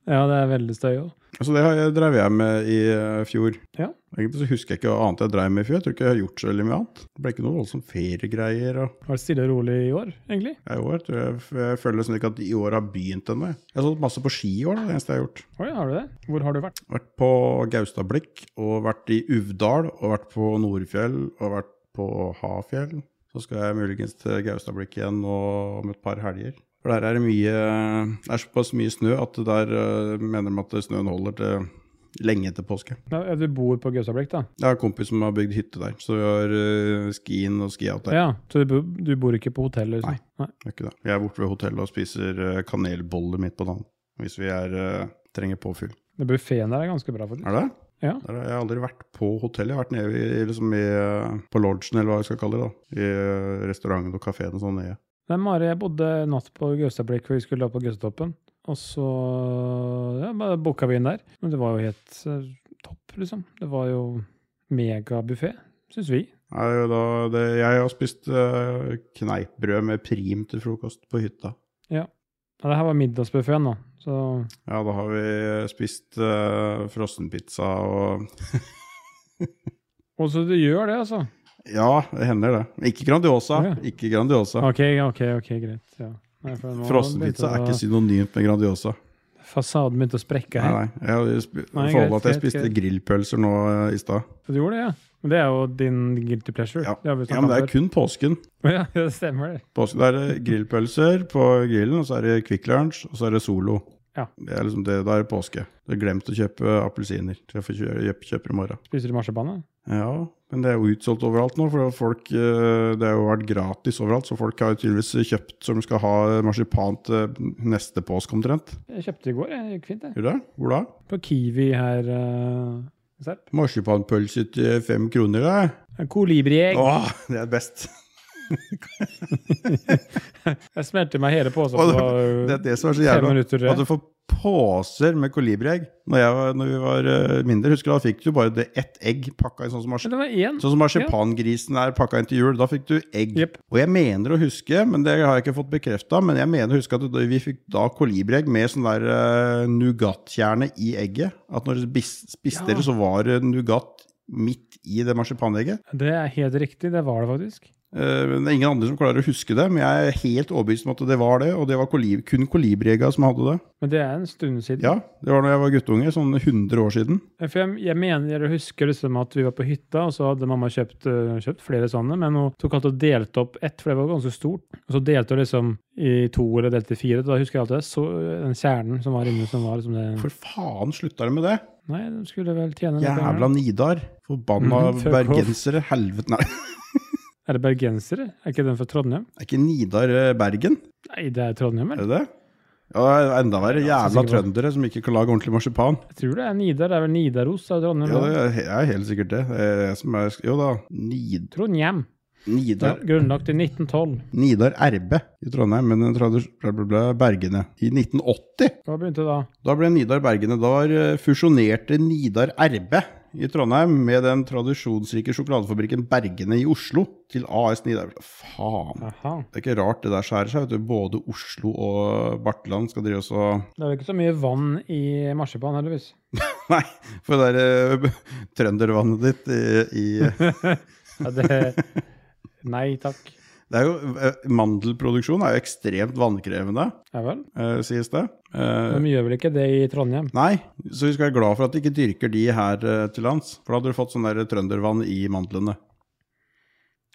Speaker 2: Ja, det er veldig støy òg.
Speaker 1: Så Altså, det har jeg- drev jeg med i eh, fjor.
Speaker 2: Ja.
Speaker 1: Egentlig så husker jeg ikke hva annet jeg drev med i fjor. Jeg tror ikke jeg har gjort så veldig mye annet. Det ble ikke noe voldsomt feriegreier. Og
Speaker 2: Var det stille og rolig i år, egentlig?
Speaker 1: jeg, i år, tror jeg, jeg føler nesten ikke at i år har begynt ennå. jeg. Jeg har stått masse på ski i år, det er det eneste jeg har gjort.
Speaker 2: Oi, har du det? Hvor har du vært?
Speaker 1: Vært på Gaustablikk, og vært i Uvdal, og vært på Nordfjell, og vært på Hafjell. Så skal jeg muligens til Gaustablikk igjen nå om et par helger. For der er det mye Det er såpass mye snø at det der eh, mener de at snøen holder til Lenge etter påske.
Speaker 2: Ja, Du bor på Gaustablikk, da?
Speaker 1: Jeg har en kompis som har bygd hytte der, så vi har uh, skien og skiout der.
Speaker 2: Ja, Så du, bo- du bor ikke på hotell? Liksom.
Speaker 1: Nei. Det er ikke det. Jeg er borte ved hotellet og spiser eh, kanelboller midt på dagen. Hvis vi er, eh, trenger påfyll.
Speaker 2: Buffeen der er ganske bra, faktisk.
Speaker 1: Er det?
Speaker 2: Ja.
Speaker 1: Der har jeg aldri vært på hotellet. Jeg har vært nede i, liksom i, eh, på lodgen, eller hva jeg skal kalle det. da. I eh, restauranten og kafeen og sånn nede.
Speaker 2: Nei, Mari, jeg bodde natt på Gaustablikk, for vi skulle opp på Gaustatoppen. Og så ja, bare booka vi inn der. Men det var jo helt eh, topp, liksom. Det var jo megabuffé, syns vi.
Speaker 1: Nei, det er jo da, det, jeg har spist eh, kneippbrød med prim til frokost på hytta.
Speaker 2: Ja, det her var middagsbuffeen, da. Så
Speaker 1: Ja, da har vi spist eh, frossenpizza og
Speaker 2: Og så du gjør det, altså.
Speaker 1: Ja, det hender det. Ikke Grandiosa.
Speaker 2: Ja.
Speaker 1: Ikke Grandiosa.
Speaker 2: OK, OK, ok, greit. Ja. Nei, for nå
Speaker 1: Frossenpizza er
Speaker 2: begynte
Speaker 1: ikke
Speaker 2: det
Speaker 1: synonymt med Grandiosa.
Speaker 2: å- Fasaden begynte å sprekke
Speaker 1: Nei,
Speaker 2: her.
Speaker 1: nei. Jeg har sp-
Speaker 2: Nei,
Speaker 1: forholdet
Speaker 2: greit,
Speaker 1: at jeg
Speaker 2: greit,
Speaker 1: spiste
Speaker 2: greit.
Speaker 1: grillpølser nå eh, i stad.
Speaker 2: Så du gjorde det, ja? Men det er jo din guilty pleasure.
Speaker 1: Ja.
Speaker 2: Det har vi
Speaker 1: Ja, men det er
Speaker 2: snakket
Speaker 1: kun
Speaker 2: om før.
Speaker 1: påsken.
Speaker 2: Ja, det stemmer, det.
Speaker 1: Påsken er det grillpølser på grillen, og så er det Kvikk Lunsj, og så er det Solo.
Speaker 2: Ja.
Speaker 1: Det er liksom det, da er det påske. Du har glemt å kjøpe appelsiner. Så jeg får kjø- kjøpe, kjøpe i morgen.
Speaker 2: Spiser du marsipan, da?
Speaker 1: Ja, men det er jo utsolgt overalt nå, for folk, eh, det har jo vært gratis overalt. Så folk har jo tydeligvis kjøpt som skal ha marsipan til neste påske omtrent.
Speaker 2: Jeg kjøpte i går, jeg. Det gikk fint, det.
Speaker 1: Gjør det? Hvor da?
Speaker 2: På Kiwi her eh, i Serp.
Speaker 1: Marsipanpølse til fem kroner, da?
Speaker 2: Kolibriegg.
Speaker 1: Åh, det er best.
Speaker 2: Jeg smelte meg hele posen
Speaker 1: Og
Speaker 2: på
Speaker 1: Det er det som er så
Speaker 2: fem
Speaker 1: jævla
Speaker 2: minutter.
Speaker 1: At
Speaker 2: tror
Speaker 1: du
Speaker 2: jeg.
Speaker 1: får poser med kolibriegg. Når, jeg var, når vi var eh, mindre, husker du, da fikk du bare det ett egg pakka i sånn som, mars
Speaker 2: Men det var én.
Speaker 1: sånn som marsipangrisen er pakka inn til jul. Da fikk du egg.
Speaker 2: Jepp.
Speaker 1: Og jeg mener å huske, men det har jeg ikke fått bekrefta, men jeg mener å huske at det- vi fikk da kolibriegg med sånn der uh, nougatkjerne i egget. At når du bis- spiste
Speaker 2: Ja.
Speaker 1: det, så var det nougat midt i det marsipanegget.
Speaker 2: Det er helt riktig, det var det faktisk.
Speaker 1: Eh, men det er ingen andre som klarer å huske det, men jeg er helt overbevist om at det var det, og det var kolib kun kolibriegga som hadde det.
Speaker 2: Men det er en stund siden.
Speaker 1: Ja, det var når jeg var guttunge, sånn 100 år siden.
Speaker 2: Eh, For jeg, jeg mener, jeg husker liksom at vi var på hytta, og så hadde mamma kjøpt, eh, kjøpt flere sånne, men hun tok alt og delte opp ett, for det var ganske stort. Og så delte hun liksom i to eller delte i fire. Da husker jeg alltid så, eh, den kjernen som var inne, som var liksom det
Speaker 1: For faen slutta de med det?
Speaker 2: Nei, de skulle vel tjene litt penger.
Speaker 1: Jævla
Speaker 2: da.
Speaker 1: Nidar. Forbanna
Speaker 2: Mhm, fuck off.
Speaker 1: bergensere. Helvete, nei.
Speaker 2: Er det bergensere? Er ikke den fra Trondheim?
Speaker 1: Er ikke Nidar eh, Bergen?
Speaker 2: Nei, det er Trondheim,
Speaker 1: Er
Speaker 2: eller?
Speaker 1: det det? Ja, det er enda verre.
Speaker 2: Ja, så
Speaker 1: Jævla
Speaker 2: sikkert.
Speaker 1: trøndere som ikke kan lage ordentlig marsipan.
Speaker 2: Jeg tror det er Nidar. Det er vel Nidaros av Trondheim?
Speaker 1: Ja,
Speaker 2: eller?
Speaker 1: det er he- er helt sikkert det. Det er jeg som er Jo da. Nid,
Speaker 2: Trondheim. Ja,
Speaker 1: Nidar
Speaker 2: grunnlagt i 1912.
Speaker 1: Nidar RB i Trondheim, men en tradis- bla, bla, bla, Bergene. I 1980.
Speaker 2: Hva begynte da?
Speaker 1: Da ble Nidar Bergene. Da var, eh, fusjonerte Nidar RB i Trondheim med den tradisjonsrike sjokoladefabrikken Bergene i Oslo til AS Nidar. Faen.
Speaker 2: Aha.
Speaker 1: Det er ikke rart det der skjærer seg. vet du. Både Oslo og Bartland skal drive oss og
Speaker 2: Det er jo ikke så mye vann i marsipan, heldigvis.
Speaker 1: Nei, for det der eh, trøndervannet ditt i, i
Speaker 2: Ja, det... Nei takk.
Speaker 1: Det er jo eh, Mandelproduksjon er jo ekstremt vannkrevende,
Speaker 2: Ja vel.
Speaker 1: eh, sies det. Eh,
Speaker 2: Men vi gjør vel ikke det i Trondheim?
Speaker 1: Nei, så vi skal være glad for at de ikke dyrker de her eh, til lands. For da hadde du fått sånn der trøndervann i mandlene.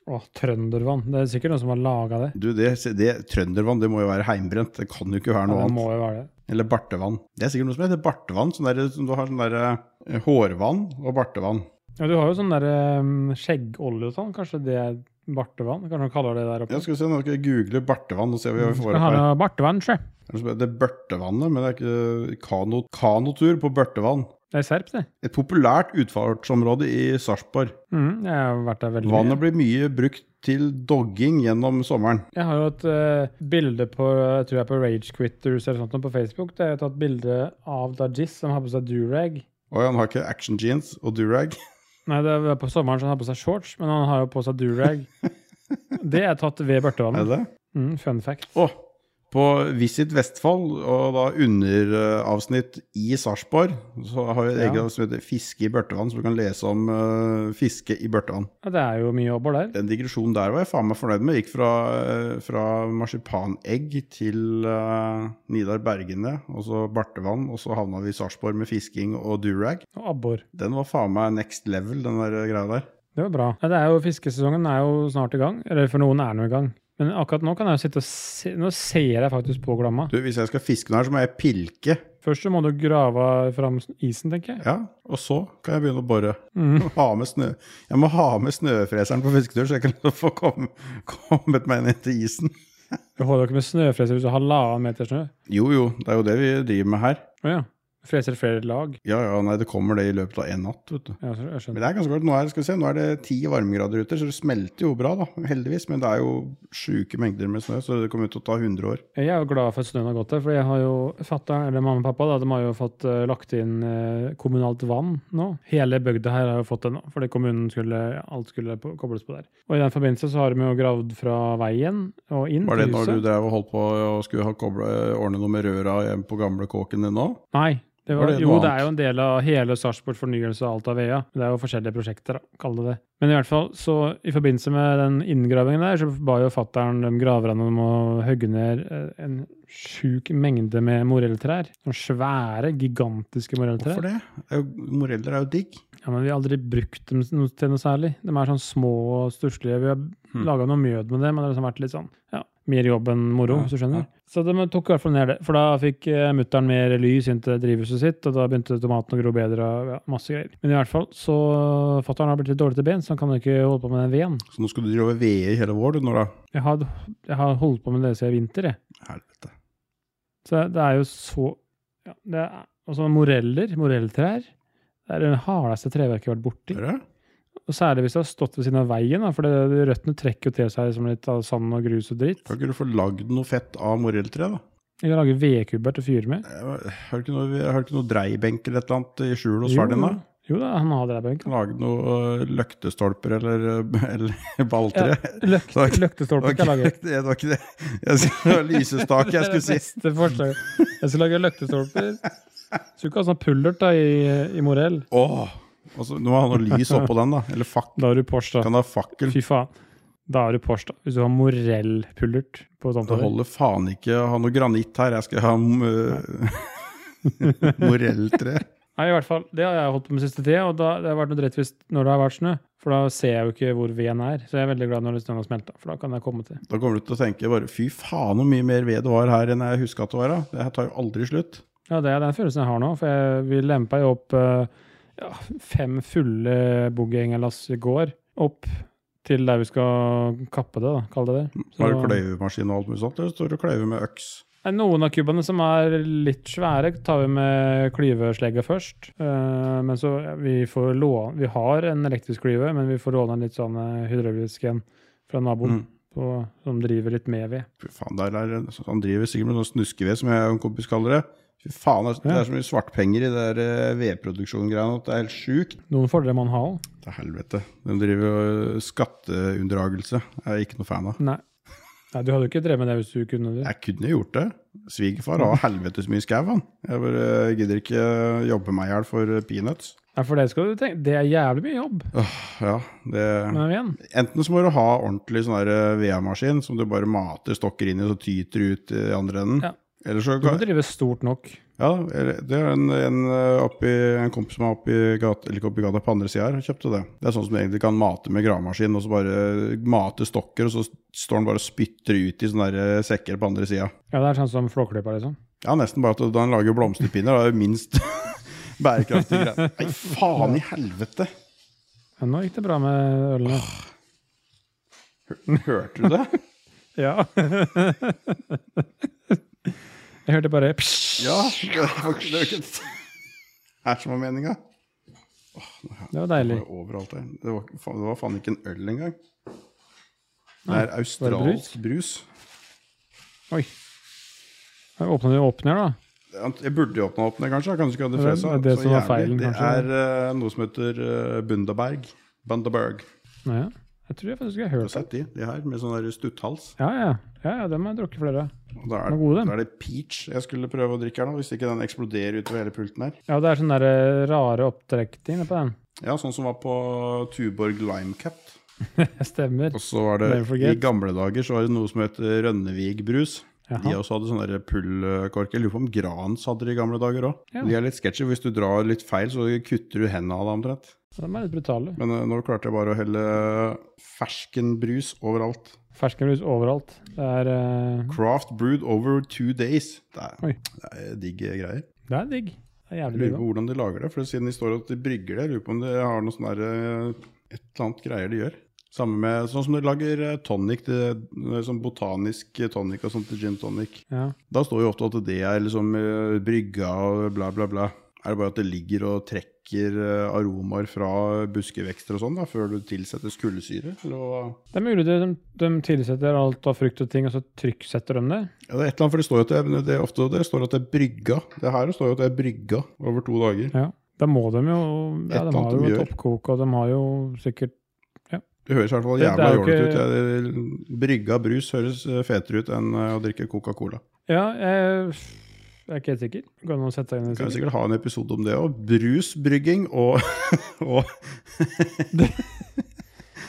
Speaker 2: Å, trøndervann. Det er sikkert noen som har laga det.
Speaker 1: Du, det, det, Trøndervann det må jo være heimbrent. Det kan jo ikke være
Speaker 2: Ja,
Speaker 1: noe
Speaker 2: det må
Speaker 1: annet.
Speaker 2: jo være det.
Speaker 1: Eller bartevann. Det er sikkert noe som heter bartevann. Sånn der, som du har sånn der, eh, hårvann og bartevann.
Speaker 2: Ja, du har jo sånn der um, skjeggolje og sånn. Kanskje det er bartevann? Kanskje de kaller det der oppe?
Speaker 1: Jeg skal vi se, Nå skal jeg google bartevann og se hva vi får
Speaker 2: Mm, Skal
Speaker 1: opp
Speaker 2: ha
Speaker 1: her.
Speaker 2: noe bartevann, sjø.
Speaker 1: Det er noe som heter Børtevannet, men det er ikke kano, kanotur på Børtevann.
Speaker 2: Det er serp, det.
Speaker 1: Et populært utfartsområde i Sarpsborg.
Speaker 2: Mm, jeg har vært der veldig mye.
Speaker 1: Vannet blir mye brukt til dogging gjennom sommeren.
Speaker 2: Jeg har jo et eh, bilde på jeg tror jeg er på Rage Quitters eller sånt noe på Facebook. Der jeg har tatt bilde av Dajis som har på seg durag.
Speaker 1: Og han har ikke action jeans og durag.
Speaker 2: Nei, det var på sommeren så han har på seg shorts, men han har jo på seg durag. Det er tatt ved
Speaker 1: Er
Speaker 2: Børtevannet.
Speaker 1: det det?
Speaker 2: Mm, fun fact.
Speaker 1: Å, på Visit Vestfold, og da underavsnitt i Sarpsborg, så har vi et
Speaker 2: Ja.
Speaker 1: eget som heter Fiske i Børtevann, så du kan lese om eh, fiske i Børtevann.
Speaker 2: Ja, det er jo mye jobber der.
Speaker 1: Den digresjonen der var jeg faen meg fornøyd med. Gikk fra, eh, fra marsipanegg til eh, Nidar Bergene, og så Bartevann, og så havna vi i Sarpsborg med fisking og durag.
Speaker 2: Og abbor.
Speaker 1: Den var faen meg next level, den der greia der.
Speaker 2: Det var bra. Ja, det er jo Fiskesesongen er jo snart i gang. Eller for noen er den jo i gang. Men akkurat nå kan jeg jo sitte og se Nå ser jeg faktisk på glamma.
Speaker 1: Du, hvis jeg skal fiske den her, så må jeg pilke.
Speaker 2: Først så må du grave fram isen, tenker jeg.
Speaker 1: Ja, og så kan jeg begynne å bore.
Speaker 2: Mm.
Speaker 1: Ha med snø. Jeg må ha med snøfreseren på fisketur, så jeg kan få kom, kommet meg ned til isen.
Speaker 2: Du holder ikke med snøfreser hvis du har halvannen meter snø.
Speaker 1: Jo, jo, det er jo det vi driver med her.
Speaker 2: Å ja. Freser flere lag.
Speaker 1: Ja, ja, nei, det kommer det i løpet av en natt, vet du.
Speaker 2: Ja, så- jeg
Speaker 1: Men
Speaker 2: skjønner.
Speaker 1: det er ganske godt. Nå er, skal vi se, nå er det ti varmegrader ute, så det smelter jo bra, da, heldigvis. Men det er jo sjuke mengder med snø, så det kommer til å ta 100 år.
Speaker 2: Jeg er jo glad for at snøen har gått der, for jeg har jo fatta, eller mamma og pappa, da, de har jo fått eh, lagt inn eh, kommunalt vann nå. Hele bygda her har jo fått det nå, fordi kommunen skulle, alt skulle på, kobles på der. Og i den forbindelse så har de jo gravd fra veien og inn
Speaker 1: Var det
Speaker 2: til
Speaker 1: når
Speaker 2: huset.
Speaker 1: du drev og holdt på og skulle ha koblet, ordne noe med røra hjemme på gamle kåken din nå?
Speaker 2: Nei. Det var,
Speaker 1: Var det
Speaker 2: jo,
Speaker 1: noe
Speaker 2: det
Speaker 1: annet?
Speaker 2: er jo en del av hele Sarpsborg fornyelse og alt av VEA. Det er jo forskjellige prosjekter, da, kall det det. Men i hvert fall, så i forbindelse med den inngravingen der, så ba jo fattern de graverne om å hogge ned eh, en sjuk mengde med morelltrær. Sånne svære, gigantiske morelltrær.
Speaker 1: Hvorfor det? det er jo, moreller er jo digg.
Speaker 2: Ja, men vi har aldri brukt dem no- til noe særlig. De er sånn små og stusslige. Vi har
Speaker 1: Hmm.
Speaker 2: laget laga noe mjød med det, men det har liksom vært litt sånn ja, mer jobb enn moro,
Speaker 1: Ja,
Speaker 2: hvis du skjønner.
Speaker 1: ja.
Speaker 2: Så de tok i hvert fall ned det. For da fikk eh, mutter'n mer lys inn til drivhuset sitt, og da begynte tomatene å gro bedre og ja, masse greier. Men i hvert fall så Fatter'n har blitt litt dårlig til ben, så han kan jo ikke holde på med den veden.
Speaker 1: Så nå skal du drive og vede i hele vår, du nå, da.
Speaker 2: Jeg har, jeg har holdt på med det siden i vinter, jeg.
Speaker 1: Helvete.
Speaker 2: Så det er jo så ja, det er, Og sånne moreller, morelltrær, det er det hardeste treverket jeg har vært borti.
Speaker 1: Hører du?
Speaker 2: Og særlig hvis det har stått ved siden av veien, da, for det, røttene trekker jo til seg som litt av sand og grus og dritt.
Speaker 1: Kan ikke du få lagd noe fett av morelltre, da?
Speaker 2: Jeg kan lage vedkubber til å fyre med.
Speaker 1: Eh, Har du ikke noe, har du ikke noe dreibenk eller et eller annet i skjul hos far din, da?
Speaker 2: Jo da, han har dreibenk.
Speaker 1: Lage noe eh, løktestolper eller, eh, eller balltre?
Speaker 2: Løkt,
Speaker 1: Takk. Det
Speaker 2: løktestolper
Speaker 1: var
Speaker 2: skal jeg lage.
Speaker 1: ikke det, var ikke det. Jeg skulle, det var lysestake jeg skulle si.
Speaker 2: Det er det beste forslaget. Jeg skal lage løktestolper. Skulle ikke ha sånn pullert da i, i Morell.
Speaker 1: Åh! Og så- nå må jeg ha noe lys oppå den, da. Eller fakkel.
Speaker 2: Da har du Porsche, da.
Speaker 1: Kan du ha fakkel?
Speaker 2: Fy faen. Da har du Porsche, da. Hvis du har Morell-pullert på
Speaker 1: Det
Speaker 2: tomta di.
Speaker 1: holder faen ikke å ha noe granitt her. Jeg skal ha uh, morelltre.
Speaker 2: Nei, i hvert fall. Det har jeg holdt på med siste tid, og da, det har vært noe dritt hvis når det har vært snø. For da ser jeg jo ikke hvor veden er. Så jeg er veldig glad når snøen har smelta, for da kan jeg komme til.
Speaker 1: Da kommer du til å tenke bare fy faen hvor mye mer ved det var her enn jeg huska at det var. da. Det her tar jo aldri slutt.
Speaker 2: Ja, det er den følelsen jeg har nå, for jeg, vi lempa jo opp eh, ja, fem fulle boogieengelass i går. Opp til der vi skal kappe det, da, kall det det. Så-
Speaker 1: Har du kløyvemaskin og alt mulig sånt, eller står du og kløyver med øks?
Speaker 2: Nei, Noen av kubbene som er litt svære, tar vi med klyveslegga først. Eh, men så ja, vi får låne Vi har en elektrisk klyve, men vi får låne en litt sånn eh, hydraulisk en fra naboen
Speaker 1: Mm.
Speaker 2: på, som driver litt med ved.
Speaker 1: Fy faen, der er, det- han driver sikkert med sånn snuskeved, som jeg og en kompis kaller det. Fy faen, altså, det
Speaker 2: Ja.
Speaker 1: er så mye svartpenger i det der eh, vedproduksjongreiene at det er helt sjukt.
Speaker 2: Noen fordeler man har òg.
Speaker 1: Til helvete. De driver jo eh, skatteunndragelse. Jeg er ikke noe fan av.
Speaker 2: Nei. Nei, du hadde jo ikke drevet med det hvis du kunne det.
Speaker 1: Jeg kunne gjort det. Svigerfar har helvetes mye skau, han. Jeg bare gidder ikke eh, jobbe meg i hjel for peanuts.
Speaker 2: Nei, for det skal du tenke. Det er jævlig mye jobb.
Speaker 1: Åh, ja, det...
Speaker 2: Men igjen,
Speaker 1: Enten så må du ha ordentlig sånn der VM-maskin som du bare mater stokker inn i, så tyter det ut eh, i andre enden.
Speaker 2: Ja.
Speaker 1: Eller så
Speaker 2: du må
Speaker 1: kan,
Speaker 2: drive stort nok.
Speaker 1: ja, eller- det er en, en, eh, oppi, en kompis som er oppi gata, eller ikke oppi gata, på andre sida her, kjøpte det. Det er sånn som du egentlig kan mate med gravemaskin, og så bare eh, mate stokker, og så står den bare og spytter ut i sånne der eh, sekker på andre sida.
Speaker 2: Ja, det er sånn som flåklypa, liksom.
Speaker 1: Ja, nesten bare at den lager jo blomsterpinner, da er det minst bærekraftig greie. Nei, faen i helvete!
Speaker 2: Men nå gikk det bra med ølene.
Speaker 1: Hørte du det?
Speaker 2: Ja. Jeg hørte bare psj.
Speaker 1: Ja, det var ikke det var ikke det er som var meninga.
Speaker 2: Det var deilig.
Speaker 1: Det var overalt der. Det var, faen- det var faen ikke en øl engang. Det er australsk brus.
Speaker 2: Oi. Jeg åpner, jeg åpner da.
Speaker 1: Jeg burde jo åpna opp den, kanskje. Kanskje ikke hadde
Speaker 2: Det er
Speaker 1: fresa
Speaker 2: det
Speaker 1: så
Speaker 2: som var
Speaker 1: jævlig.
Speaker 2: feilen,
Speaker 1: Det
Speaker 2: kanskje.
Speaker 1: er eh, noe som heter eh, Bundaberg. Bundaberg.
Speaker 2: Nå, ja. Jeg tror jeg faktisk jeg har
Speaker 1: Du har
Speaker 2: hørt det.
Speaker 1: sett de, de her, med sånn der stutthals.
Speaker 2: Ja, ja. ja, ja dem har jeg drukket flere av.
Speaker 1: Og da
Speaker 2: Den
Speaker 1: er,
Speaker 2: er god, den.
Speaker 1: da er det peach jeg skulle prøve å drikke her nå, hvis ikke den eksploderer utover hele pulten her.
Speaker 2: Ja, det er sånne der eh, rare opptrekninger på den.
Speaker 1: Ja, sånn som var på Tuborg Lime Cup.
Speaker 2: Jeg stemmer.
Speaker 1: Og så var det
Speaker 2: Never forget.
Speaker 1: I gamle dager så var det noe som het Rønnevig brus. De
Speaker 2: Jaha.
Speaker 1: også hadde sånne der pullkorker. Jeg Lurer på om Grans hadde det i gamle dager òg.
Speaker 2: Ja.
Speaker 1: De er litt sketchy. Hvis du drar litt feil, så kutter du hendene av deg omtrent.
Speaker 2: Ja, De er litt brutale.
Speaker 1: Men eh, nå klarte jeg bare å helle ferskenbrus eh, overalt.
Speaker 2: Ferskenbrus overalt. Det er, eh,
Speaker 1: Craft brewed over two days. Det
Speaker 2: Oi.
Speaker 1: er, det er digg greier.
Speaker 2: det er digg. Det er
Speaker 1: Jeg
Speaker 2: jævlig
Speaker 1: lurer på
Speaker 2: digg. da.
Speaker 1: hvordan de lager det. For siden de står at de brygger det, jeg lurer på om de har noe sånn der eh, Et eller annet greier de gjør. Samme med Sånn som de lager eh, tonic, til, eh, sånn botanisk tonic og sånt til gin tonic.
Speaker 2: Ja.
Speaker 1: Da står jo ofte at det er liksom eh, brygga og bla, bla, bla. Er det bare at det ligger og trekker eh, aromaer fra buskevekster og sånn da, før du tilsetter kullsyre? Eller hva?
Speaker 2: Det er mulig de, de tilsetter alt av frukt og ting, og så trykksetter de det.
Speaker 1: Ja, det er et eller annet, for det står jo at det, det, er ofte, det står at det er brygga. Det her står jo at det er brygga over to dager.
Speaker 2: Ja. Da må de jo
Speaker 1: Et
Speaker 2: ja,
Speaker 1: eller annet
Speaker 2: De har jo
Speaker 1: de
Speaker 2: et
Speaker 1: gjør.
Speaker 2: oppkok, og de har jo sikkert
Speaker 1: Det høres i hvert fall
Speaker 2: Det- det
Speaker 1: jævla
Speaker 2: er jo
Speaker 1: jålete ut.
Speaker 2: ikke-
Speaker 1: Jeg- det- Brygga brus høres eh, fetere ut enn eh, å drikke Coca-Cola.
Speaker 2: Ja, jeg, jeg er ikke helt sikker. Kan noen sette seg inn i
Speaker 1: Vi kan
Speaker 2: det?
Speaker 1: jo sikkert ha en episode om det òg. Brusbrygging og, og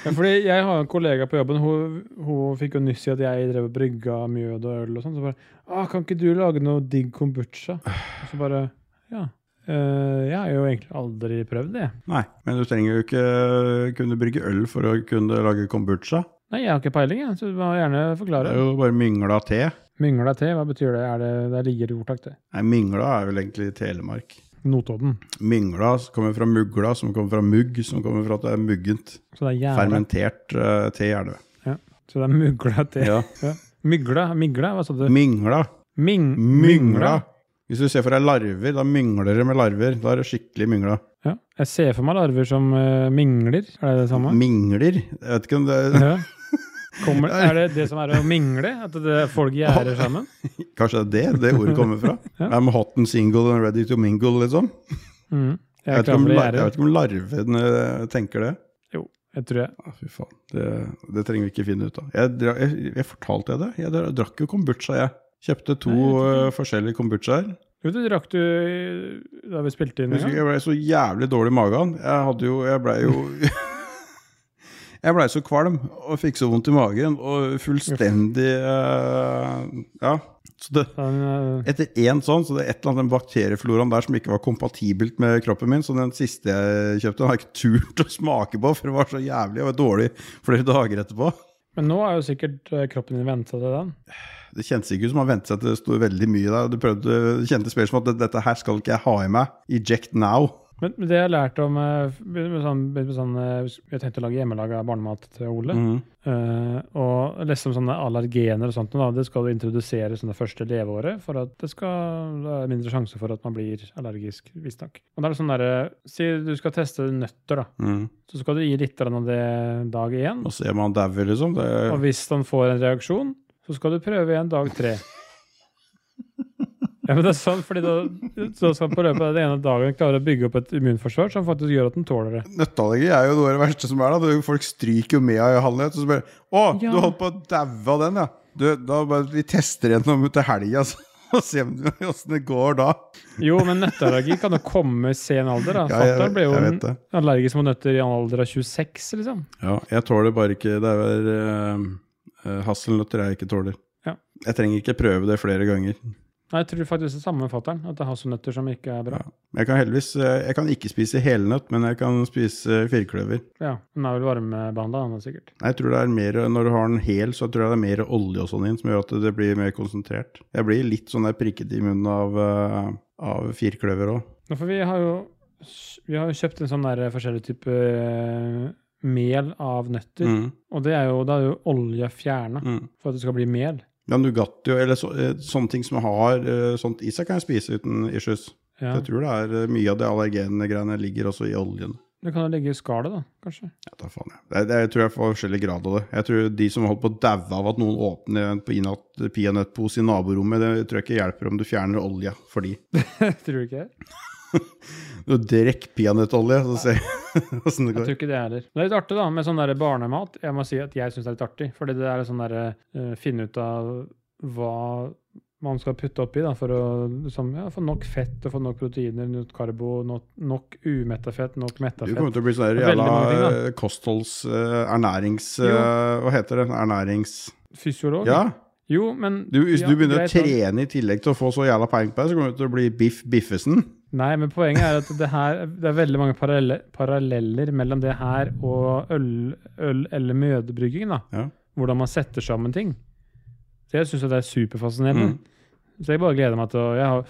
Speaker 2: Ja, fordi jeg har en kollega på jobben, hun, hun fikk jo nyss i at jeg drev og brygga mjød og øl og sånn. Så bare ah, 'Kan ikke du lage noe digg kombucha?' Og så bare Ja. eh, jeg har jo egentlig aldri prøvd det.
Speaker 1: Nei, men du trenger jo ikke eh, kunne brygge øl for å kunne lage kombucha.
Speaker 2: Nei, jeg har ikke peiling, jeg, så du må gjerne
Speaker 1: Det
Speaker 2: forklare.
Speaker 1: er jo bare mingla te.
Speaker 2: Myngla te, hva betyr det? Er det der ligger det ordtak, det.
Speaker 1: Nei, mingla er vel egentlig Telemark.
Speaker 2: Notodden.
Speaker 1: Mingla kommer fra mugla, som kommer fra mugg, som kommer fra at det er muggent.
Speaker 2: Så det er jævla
Speaker 1: Fermentert eh, te er det.
Speaker 2: Så det er mugla te.
Speaker 1: Ja.
Speaker 2: Mygla? Migla? Hva sa du?
Speaker 1: Mingla.
Speaker 2: Ming...
Speaker 1: Mingla. Hvis du ser for deg larver, da mingler det med larver. Da er det skikkelig mingla.
Speaker 2: Ja. Jeg ser for meg larver som eh, mingler. Er det det samme?
Speaker 1: Mingler? Jeg vet ikke om det er
Speaker 2: Ja. Kommer, er det det som er å mingle? At det, folk gjerder sammen?
Speaker 1: Kanskje det er det det ordet kommer fra?
Speaker 2: Ja.
Speaker 1: I'm hot and single and ready to mingle, liksom.
Speaker 2: Mm.
Speaker 1: Jeg
Speaker 2: Jeg, er
Speaker 1: vet ikke
Speaker 2: klar
Speaker 1: om,
Speaker 2: for å
Speaker 1: lar- jeg vet
Speaker 2: gjerde.
Speaker 1: ikke om larvene eh, tenker det.
Speaker 2: Jeg tror jeg.
Speaker 1: Ja, fy faen. Det, det trenger vi ikke finne ut av. Jeg, dra- jeg, jeg fortalte jeg det. Jeg dra- drakk jo kombucha, jeg. Kjøpte to
Speaker 2: Nei, jeg tror ikke.
Speaker 1: eh, forskjellige kombuchaer.
Speaker 2: Jo, det drakk du i- da vi spilte inn
Speaker 1: Jeg
Speaker 2: en
Speaker 1: husker
Speaker 2: gang.
Speaker 1: jeg ble så jævlig dårlig i magen. Jeg hadde jo Jeg blei jo Jeg blei så kvalm og fikk så vondt i magen og fullstendig eh, Ja. Så det
Speaker 2: Den, eh,
Speaker 1: etter én sånn, så det er et eller annet den bakteriefloraen der som ikke var kompatibelt med kroppen min. Så den siste jeg kjøpte, den har jeg ikke turt å smake på, for det var så jævlig og dårlig flere dager etterpå.
Speaker 2: Men nå er jo sikkert eh, kroppen din venta til den.
Speaker 1: Det kjentes ikke ut som han ventet seg til det sto veldig mye der. Det, prøvde, det kjentes mer som at dette her skal ikke jeg ha i meg. Eject now.
Speaker 2: Men men det jeg har lært om eh, med med sånn, med sånn, eh, Jeg tenkte å lage hjemmelaga barnemat til Ole. Eh, og leste om sånne allergener og sånt. Da. Det skal du introdusere sånn det første leveåret for at det skal da er det mindre sjanse for at man blir allergisk. Visstnok. Og da er det sånn derre Si du skal teste nøtter, da.
Speaker 1: Mhm.
Speaker 2: Så skal du gi litt grann av det dag én.
Speaker 1: Og se om han dauer, liksom. Det,
Speaker 2: Og hvis han får en reaksjon, så skal du prøve igjen dag tre. Ja, men det er sånn, fordi da, så skal han på løpet av den ene dagen klare å bygge opp et immunforsvar som faktisk gjør at den tåler det.
Speaker 1: Nøtteallergi er jo noe av det verste som er. da Det- Folk stryker jo med av halvnøtt og så bare Å,
Speaker 2: Ja.
Speaker 1: du holdt på å daue av den, ja. Du, da bare Vi tester gjennom til helga, altså. Og se om- åssen det går da.
Speaker 2: Jo, men nøtteallergi kan jo komme i sen alder. da.
Speaker 1: Ja, jeg-
Speaker 2: Fatter'n ble jo
Speaker 1: jeg vet det.
Speaker 2: allergisk mot nøtter i en alder av 26, liksom.
Speaker 1: Ja, jeg tåler bare ikke Det er uh, hasselnøtter jeg ikke tåler.
Speaker 2: Ja.
Speaker 1: Jeg trenger ikke prøve det flere ganger.
Speaker 2: Nei, jeg tror faktisk det er samme med fatter'n, at det er hasselnøtter som ikke er bra.
Speaker 1: Men Jeg kan heldigvis eh, Jeg kan ikke spise helnøtt, men jeg kan spise firkløver.
Speaker 2: Ja, Den er vel varmebehandla, den er sikkert.
Speaker 1: Nei, Jeg tror det er mer Når du har den hel, så tror jeg det er mer olje og sånn inn som gjør at det blir mer konsentrert. Jeg blir litt sånn der prikket i munnen av, eh, av firkløver òg.
Speaker 2: Nå, for vi har jo vi har jo kjøpt en sånn der forskjellig type eh, mel av nøtter.
Speaker 1: Mm,
Speaker 2: Og det er jo, da er jo olja fjerna
Speaker 1: mm.
Speaker 2: for at det skal bli mel.
Speaker 1: Ja, Nugatti og eller så, eh, sånne ting som har eh, sånt i seg, kan jeg spise uten issues. Så
Speaker 2: Ja.
Speaker 1: Jeg tror det er eh, mye av det allergenene greiene ligger også i oljen.
Speaker 2: Det kan jo ligge i skallet, da, kanskje.
Speaker 1: Jeg tar faen, jeg. Det, det, jeg tror jeg får forskjellig grad av det. Jeg tror De som holdt på å daue av at noen åpner en peanøtt- peanøttpose i naborommet, det tror jeg ikke hjelper om du fjerner olja for de.
Speaker 2: tror du ikke det?
Speaker 1: Du Drikk peanøttolje, så ser vi åssen det
Speaker 2: Jeg
Speaker 1: går.
Speaker 2: tror ikke det heller. Det er litt artig da, med sånn der barnemat. Jeg må si at jeg syns det er litt artig. Fordi det er sånn derre eh, finne ut av hva man skal putte oppi da, for å liksom, ja, få nok fett og få nok proteiner, nok karbo, nok, nok umetta fett, nok metta
Speaker 1: Du
Speaker 2: fett.
Speaker 1: kommer til å bli sånn
Speaker 2: Det er veldig
Speaker 1: jævla
Speaker 2: mange ting,
Speaker 1: eh, kostholds... eh, ernærings... eh, hva heter det? Ernærings...
Speaker 2: Fysiolog?
Speaker 1: Ja.
Speaker 2: Jo, men
Speaker 1: Du, hvis
Speaker 2: ja,
Speaker 1: du begynner å
Speaker 2: greit, da.
Speaker 1: trene i tillegg til å få så jævla peiling på deg, så kommer du til å bli Biff Biffesen.
Speaker 2: Nei, men poenget er at det, her, det er veldig mange parallelle, paralleller mellom det her og øl, øl eller mjødbrygging. da.
Speaker 1: Ja.
Speaker 2: hvordan man setter sammen ting. Så jeg syns det er superfascinerende.
Speaker 1: Mm.
Speaker 2: Så jeg bare gleder meg til å Jeg har,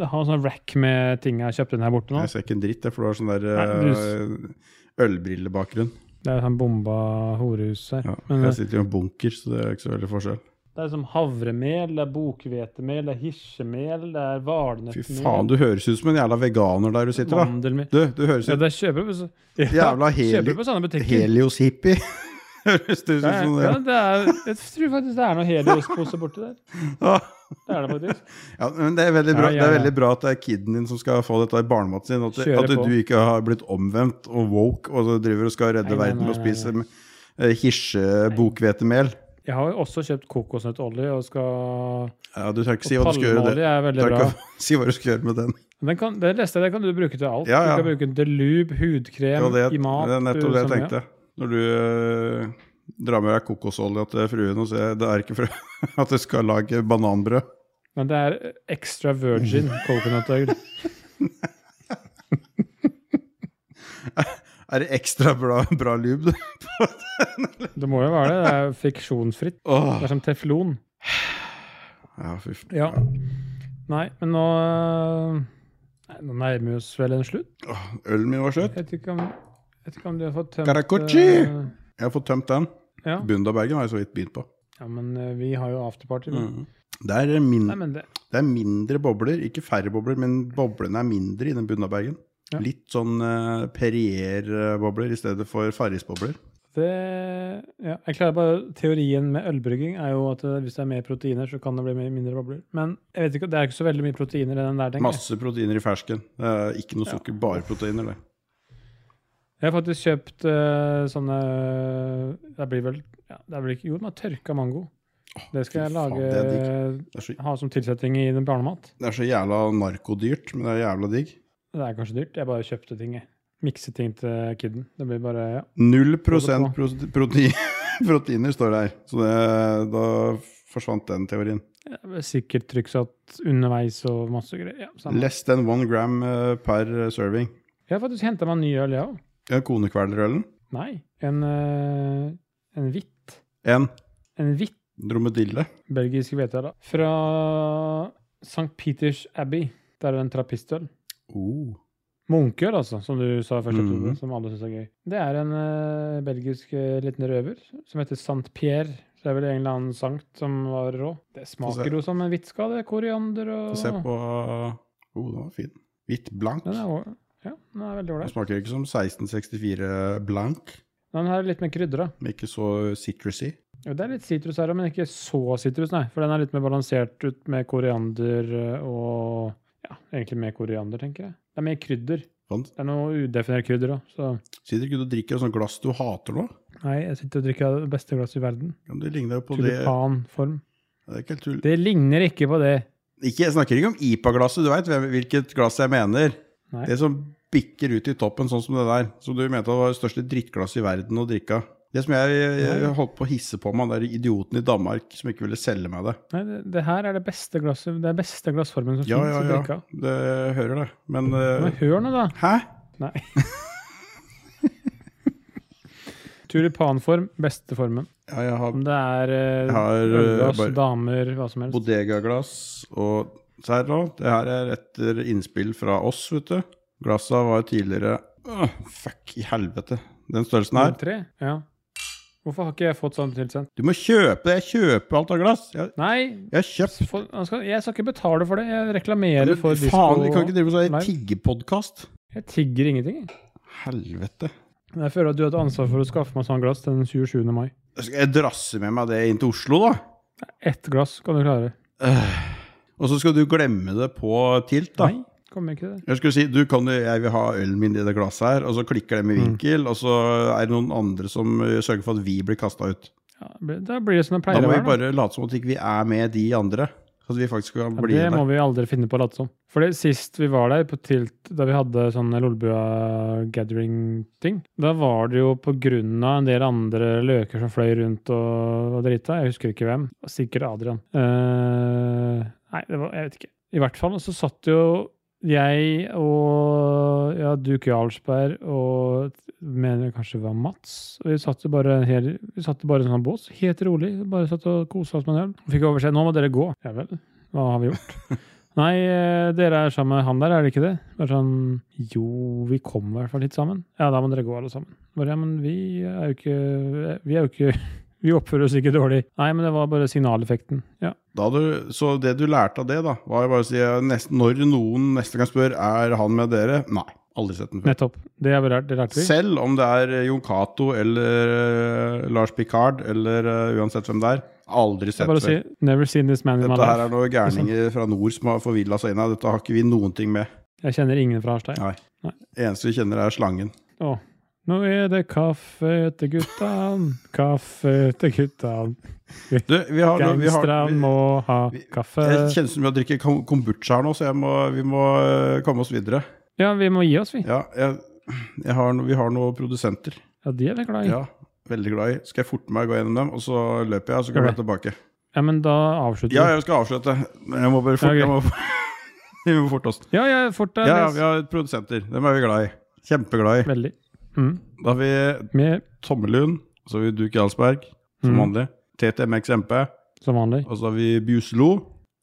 Speaker 2: jeg har en sånn rack med ting jeg har kjøpt inn her borte nå.
Speaker 1: Jeg ser ikke en dritt, jeg, for du har sånn der
Speaker 2: Nei,
Speaker 1: eh, ølbrillebakgrunn.
Speaker 2: Det er sånn bomba horehus her.
Speaker 1: Ja.
Speaker 2: Men, eh,
Speaker 1: Jeg sitter i en bunker, så det er ikke så veldig forskjell.
Speaker 2: Det er som havremel, det er bokhvetemel, det er hirsjemel, det er
Speaker 1: Fy
Speaker 2: valnøttmel
Speaker 1: faen, du høres ut som en jævla veganer der du sitter, da.
Speaker 2: Mandelmel
Speaker 1: Du, du høres
Speaker 2: Ja,
Speaker 1: ut
Speaker 2: det kjøper du på, så- ja,
Speaker 1: Jævla heli-
Speaker 2: kjøper du på sånne butikker.
Speaker 1: Helios-hippie. høres det ut
Speaker 2: Det
Speaker 1: som
Speaker 2: er,
Speaker 1: sånn,
Speaker 2: ja,
Speaker 1: ja.
Speaker 2: det er, jeg tror faktisk det er noen Helios-poser borti der.
Speaker 1: Ah.
Speaker 2: Det er det faktisk.
Speaker 1: Ja, men det er, veldig bra,
Speaker 2: Ja, ja,
Speaker 1: det er
Speaker 2: ja.
Speaker 1: veldig bra at det er kiden din som skal få dette i barnematen sin. At,
Speaker 2: Kjøre
Speaker 1: at
Speaker 2: på.
Speaker 1: du ikke har blitt omvendt og woke og så driver og skal redde
Speaker 2: Nei, nei,
Speaker 1: verden og
Speaker 2: nei, nei,
Speaker 1: spise eh, hirsebokhvetemel.
Speaker 2: Jeg har jo også kjøpt kokosnøttolje og skal
Speaker 1: Ja, du trenger ikke si
Speaker 2: Og
Speaker 1: hva du skal gjøre med det.
Speaker 2: palmeolje er
Speaker 1: Du
Speaker 2: veldig
Speaker 1: trenger
Speaker 2: bra.
Speaker 1: ikke si hva du skal gjøre med den.
Speaker 2: Men Den kan, det neste det kan du bruke til alt.
Speaker 1: Ja, ja.
Speaker 2: Du kan bruke delube, hudkrem,
Speaker 1: Ja, det,
Speaker 2: i mat.
Speaker 1: det er nettopp
Speaker 2: du-
Speaker 1: det jeg
Speaker 2: sånn, ja.
Speaker 1: tenkte. Når du eh, drar med deg kokosolje til fruen og sier det er ikke for at du skal lage bananbrød.
Speaker 2: Men det er extra virgin coconutøl.
Speaker 1: Er det ekstra bra, bra lube? du?
Speaker 2: Det må jo være det. Det er friksjonsfritt. Det
Speaker 1: Åh.
Speaker 2: er som teflon.
Speaker 1: Ja, fy f-
Speaker 2: Ja. Nei, men nå øh, nei, Nå nærmer vi oss vel en slutt.
Speaker 1: Åh, Ølen min var
Speaker 2: Jeg
Speaker 1: søt.
Speaker 2: vet ikke om, jeg vet ikke om du har fått tømt
Speaker 1: Karakochi!
Speaker 2: øh,
Speaker 1: Jeg har fått tømt den.
Speaker 2: ja.
Speaker 1: Bundabergen har jeg så vidt begynt på.
Speaker 2: ja, men øh, vi har jo afterparty. vi.
Speaker 1: Mhm. Det, er min,
Speaker 2: Nei, men det,
Speaker 1: det er mindre bobler, ikke færre bobler, men boblene er mindre i den Bundabergen.
Speaker 2: Ja.
Speaker 1: Litt sånn eh, Perrier-bobler i stedet for Farris-bobler.
Speaker 2: det ja, Jeg klarer bare Teorien med ølbrygging er jo at øh, hvis det er mer proteiner, så kan det bli mer- mindre bobler. Men jeg vet ikke, det er ikke så veldig mye proteiner i den der, tenker jeg.
Speaker 1: Masse proteiner i fersken. Det er ikke noe sukker, bare proteiner. det.
Speaker 2: Jeg har faktisk kjøpt øh, sånne Det blir vel ja, det er vel ikke, Jo, den har tørka mango.
Speaker 1: fy
Speaker 2: Det skal jeg
Speaker 1: faen,
Speaker 2: lage,
Speaker 1: det er Det er så,
Speaker 2: ha som tilsetning i den barnemat.
Speaker 1: det er så jævla narkodyrt, men det er jævla digg.
Speaker 2: Det er kanskje dyrt. Jeg bare kjøpte ting, jeg. Mikset ting til kidden. Det blir bare ja.
Speaker 1: Null prosent prote- prote- proteiner står det her. Så det, da forsvant den teorien.
Speaker 2: det er Sikkert trykksatt underveis og masse greier. Ja, samme.
Speaker 1: Less than one gram eh, per serving.
Speaker 2: Jeg har faktisk henta meg en ny øl, jeg òg.
Speaker 1: Ja, Konekvelerølen.
Speaker 2: Nei, en, eh, en hvitt.
Speaker 1: En
Speaker 2: En hvitt
Speaker 1: dromedille.
Speaker 2: belgisk hvete, da. Fra St. Peters Abbey. Der er det en trappistøl.
Speaker 1: Oh.
Speaker 2: Munkeøl, altså, som du sa i første
Speaker 1: Mhm.
Speaker 2: episode, som alle syns er gøy. Det er en eh, belgisk eh, liten røver som heter Saint Pierre. Så det er vel en eller annen sankt som var rå. Det
Speaker 1: se.
Speaker 2: smaker jo som en hvitskade. Koriander og
Speaker 1: Få se på Oh, den var fin. Hvitt blank.
Speaker 2: Den er, å- ja, den er veldig
Speaker 1: Den
Speaker 2: ålreit.
Speaker 1: smaker ikke som 1664 blank,
Speaker 2: Den her er litt mer krydder, da.
Speaker 1: men ikke så citrusy.
Speaker 2: Jo, Det er litt sitrus her, men ikke så sitrus, nei. For den er litt mer balansert ut med koriander eh, og Ja, egentlig mer koriander, tenker jeg. Det er mer krydder.
Speaker 1: Sånn.
Speaker 2: Det er noe udefinert krydder òg, så
Speaker 1: Sitter ikke du og drikker et sånt glass du hater nå?
Speaker 2: Nei, jeg sitter og drikker av det beste glasset i verden.
Speaker 1: Ja, men Det ligner jo på det Det
Speaker 2: Tulipanform.
Speaker 1: er ikke helt tull.
Speaker 2: Det ligner ikke på det.
Speaker 1: Ikke, jeg snakker ikke om IPA-glasset, du veit hvilket glass jeg mener.
Speaker 2: Nei.
Speaker 1: Det som bikker ut i toppen, sånn som det der. Som du mente var det største drittglasset i verden å drikke av. Det som jeg, jeg, jeg holdt på å hisse på meg, det er idioten i Danmark som ikke ville selge meg det.
Speaker 2: Nei, det, det her er det beste glasset, det er beste glassformen som
Speaker 1: Ja,
Speaker 2: finnes
Speaker 1: ja,
Speaker 2: å drikke
Speaker 1: ja.
Speaker 2: av.
Speaker 1: Det jeg hører det. Men eh,
Speaker 2: Men hør nå, da.
Speaker 1: Hæ?
Speaker 2: Nei. Tulipanform, beste formen.
Speaker 1: Ja, jeg har
Speaker 2: Om det er eh,
Speaker 1: Jeg har, eh,
Speaker 2: ølglass,
Speaker 1: bare-
Speaker 2: damer, hva som helst.
Speaker 1: bodegaglass og se her nå. Det her er etter innspill fra oss, vet du. Glassa var tidligere Åh, Fuck i helvete. Den størrelsen her.
Speaker 2: Tre? Ja. Hvorfor har ikke jeg fått sånn tilsendt?
Speaker 1: Du må kjøpe det! Jeg kjøper alt av glass! Jeg,
Speaker 2: Nei,
Speaker 1: jeg har kjøpt
Speaker 2: få- han skal, jeg skal ikke betale for det. Jeg reklamerer
Speaker 1: Men
Speaker 2: for
Speaker 1: Faen, vi kan ikke
Speaker 2: disko.
Speaker 1: drive med
Speaker 2: Nei.
Speaker 1: sånn tiggepodkast.
Speaker 2: Jeg tigger ingenting. jeg.
Speaker 1: Helvete.
Speaker 2: Men jeg føler at du har et ansvar for å skaffe meg sånn glass den 27. mai.
Speaker 1: Skal jeg drasse med meg det inn til Oslo, da?
Speaker 2: Ett glass kan du klare.
Speaker 1: Og så skal du glemme det på tilt, da?
Speaker 2: Nei, kommer ikke det.
Speaker 1: Jeg skulle si, du kan jo, jeg vil ha ølen min i det glasset her, og så klikker de i
Speaker 2: Mm.
Speaker 1: vinkel, og så er det noen andre som eh, sørger for at vi blir kasta ut.
Speaker 2: Ja, det blir- da blir det som det
Speaker 1: Da
Speaker 2: pleier å
Speaker 1: må vi
Speaker 2: være. da.
Speaker 1: bare late som at ikke vi ikke er med de andre. At vi faktisk skal
Speaker 2: Ja,
Speaker 1: bli
Speaker 2: det må
Speaker 1: der.
Speaker 2: vi aldri finne på å late som. For det- sist vi var der, på Tilt, da vi hadde sånn Lolbua gathering-ting, da var det jo på grunn av en del andre løker som fløy rundt og var drita. Jeg husker ikke hvem. Det var Sikkert Adrian. Eh, nei, det var, jeg vet ikke. I hvert fall så satt jo Jeg og ja, Duke Jarlsberg og mener kanskje det var Mats. Og vi satt jo bare, her, vi satt jo bare i en sånn bås, helt rolig. Bare satt og kosa oss med en øl. Fikk overse nå må dere gå. Ja vel, hva har vi gjort? Nei, eh, dere er sammen med han der, er det ikke det? Bare sånn Jo, vi kom i hvert fall hit sammen. Ja, da må dere gå alle sammen. Bare, ja, men vi er jo ikke Vi er jo ikke Vi oppfører oss ikke dårlig. Nei, men det var bare signaleffekten. Ja.
Speaker 1: Da du, så det du lærte av det, da, var jo bare å si eh, nest, når noen neste gang spør er han med dere Nei, aldri sett den før.
Speaker 2: Nettopp. Det er vel- det lærte vi.
Speaker 1: Selv om det er eh, Jon Cato eller eh, Lars Picard eller eh, uansett hvem det er. Aldri
Speaker 2: Det
Speaker 1: sett
Speaker 2: er bare å si
Speaker 1: før.
Speaker 2: 'never seen this man in my
Speaker 1: Dette her
Speaker 2: life'.
Speaker 1: er noen gærninger fra nord som har forvilla seg inn her. Dette har ikke vi noen ting med.
Speaker 2: Jeg kjenner ingen fra Harstad.
Speaker 1: Nei.
Speaker 2: Nei.
Speaker 1: Eneste vi kjenner, er slangen.
Speaker 2: Å. Nå er det kaffe til guttan, kaffe til guttan.
Speaker 1: Du, vi har, vi har,
Speaker 2: Gangsterne
Speaker 1: vi,
Speaker 2: må eh, ha
Speaker 1: vi- jeg
Speaker 2: kaffe.
Speaker 1: kjenner som vi har drukket kom- kombucha her nå, så jeg må, vi må eh, komme oss videre.
Speaker 2: Ja, vi må gi oss, vi.
Speaker 1: Ja, jeg, jeg har, no- vi har noen produsenter.
Speaker 2: Ja, de er vi glad i.
Speaker 1: Ja, veldig glad i. Skal jeg forte meg å gå gjennom dem, og så løper jeg, og så kommer jeg tilbake.
Speaker 2: Ja, men da avslutter
Speaker 1: Ja,
Speaker 2: vi.
Speaker 1: jeg skal avslutte. Men jeg må bare fort,
Speaker 2: Ja, ok.
Speaker 1: jeg må, vi må forte oss.
Speaker 2: Ja, ja, fort deg.
Speaker 1: Ja, ja,
Speaker 2: Les.
Speaker 1: vi har produsenter. Dem er vi glad i. Kjempeglad i.
Speaker 2: Veldig. Mm.
Speaker 1: Da har vi
Speaker 2: Med,
Speaker 1: Tommelund, så har vi Duke Jarlsberg, som
Speaker 2: Mm.
Speaker 1: vanlig. TTMXMP,
Speaker 2: som vanlig.
Speaker 1: og så har vi Bjuslo.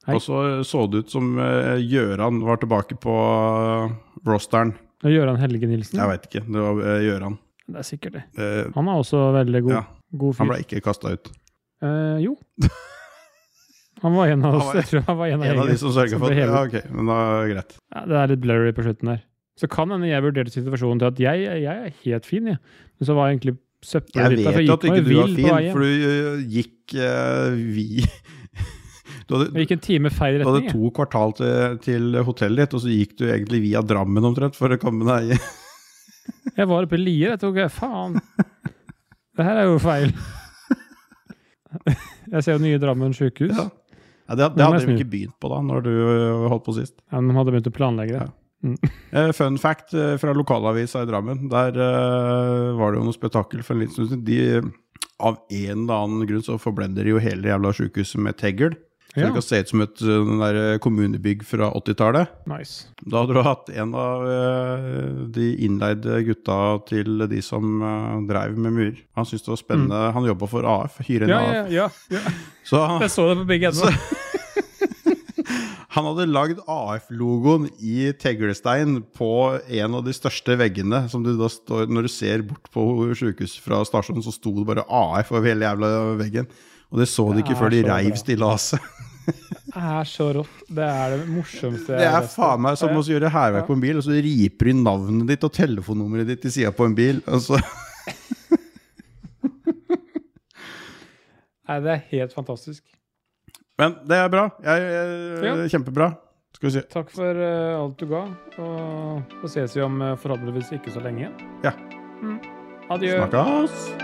Speaker 2: Hei.
Speaker 1: Og så så det ut som eh, Gjøran var tilbake på eh, rosteren.
Speaker 2: Og Gøran Helge Nilsen.
Speaker 1: Jeg veit ikke. Det var eh, Gjøran.
Speaker 2: Det er sikkert det.
Speaker 1: Eh,
Speaker 2: Han er også veldig god,
Speaker 1: Ja.
Speaker 2: god
Speaker 1: han
Speaker 2: fyr.
Speaker 1: ble ikke kasta ut.
Speaker 2: Eh, jo. Han var en av oss.
Speaker 1: Han var-
Speaker 2: Jeg tror han var en av,
Speaker 1: En av
Speaker 2: gjengen.
Speaker 1: de som sørga
Speaker 2: som
Speaker 1: for
Speaker 2: ble
Speaker 1: at
Speaker 2: hevet.
Speaker 1: Ja, ok, men da er det greit.
Speaker 2: Ja, det er litt blurry på slutten der. Så kan hende jeg vurderte situasjonen til at jeg, jeg er helt fin, jeg. Men så var jeg egentlig søppelet
Speaker 1: Jeg
Speaker 2: ditt
Speaker 1: vet
Speaker 2: der, for jeg
Speaker 1: at
Speaker 2: gikk
Speaker 1: ikke
Speaker 2: meg
Speaker 1: du var
Speaker 2: vill på vei
Speaker 1: fin,
Speaker 2: hjem.
Speaker 1: for du ø, gikk eh, vi Du hadde,
Speaker 2: Jeg gikk en time feil
Speaker 1: du hadde
Speaker 2: retning. jeg.
Speaker 1: to kvartal til, til hotellet ditt, og så gikk du egentlig via Drammen omtrent for å komme deg
Speaker 2: Jeg var oppe i Lier, jeg tok Faen! Det her er jo feil. Jeg ser jo nye Drammen sykehus.
Speaker 1: Ja. ja, Det, det
Speaker 2: Nå må
Speaker 1: hadde
Speaker 2: jeg
Speaker 1: de
Speaker 2: snu.
Speaker 1: ikke begynt på da, når du ø, holdt på sist.
Speaker 2: Ja, De hadde begynt å planlegge det.
Speaker 1: Ja. Eh, Fun fact eh, fra lokalavisa i Drammen. Der eh, var det jo noe spetakkel for en liten stund siden. De, eh, av en eller annen grunn så forblender de jo hele jævla sjukehuset med tegl. Så
Speaker 2: Ja.
Speaker 1: det kan se ut som et ø, den der eh, kommunebygg fra 80-tallet.
Speaker 2: Nice.
Speaker 1: Da hadde du hatt en av eh, de innleide gutta til de som eh, dreiv med mur. Han syntes det var spennende. Han jobba for AF, hyre en
Speaker 2: Mm. Ja, ja,
Speaker 1: AF.
Speaker 2: ja, ja.
Speaker 1: Så han,
Speaker 2: Jeg så det på Big Ed nå.
Speaker 1: han hadde lagd AF-logoen i teglstein på en av de største veggene. Som du da står, når du ser bort på sykehuset fra stasjonen, så sto det bare AF over hele jævla veggen. Og det så de
Speaker 2: Det
Speaker 1: ikke
Speaker 2: er
Speaker 1: før de
Speaker 2: så bra.
Speaker 1: reiv stillaset.
Speaker 2: Det er så rått. Det er det morsomste
Speaker 1: Det
Speaker 2: jeg har
Speaker 1: er
Speaker 2: lest.
Speaker 1: faen meg som å gjøre hærverk
Speaker 2: Ja.
Speaker 1: på en bil, og så riper de navnet ditt og telefonnummeret ditt i sida på en bil. Og så
Speaker 2: Nei, Det er helt fantastisk.
Speaker 1: Men det er bra. Jeg, jeg,
Speaker 2: Ja.
Speaker 1: Kjempebra. Skal vi se.
Speaker 2: Takk for eh, alt du ga, og så ses vi om eh, forhåpentligvis ikke så lenge igjen.
Speaker 1: Ja.
Speaker 2: Mm. Adjø.
Speaker 1: Snakkes!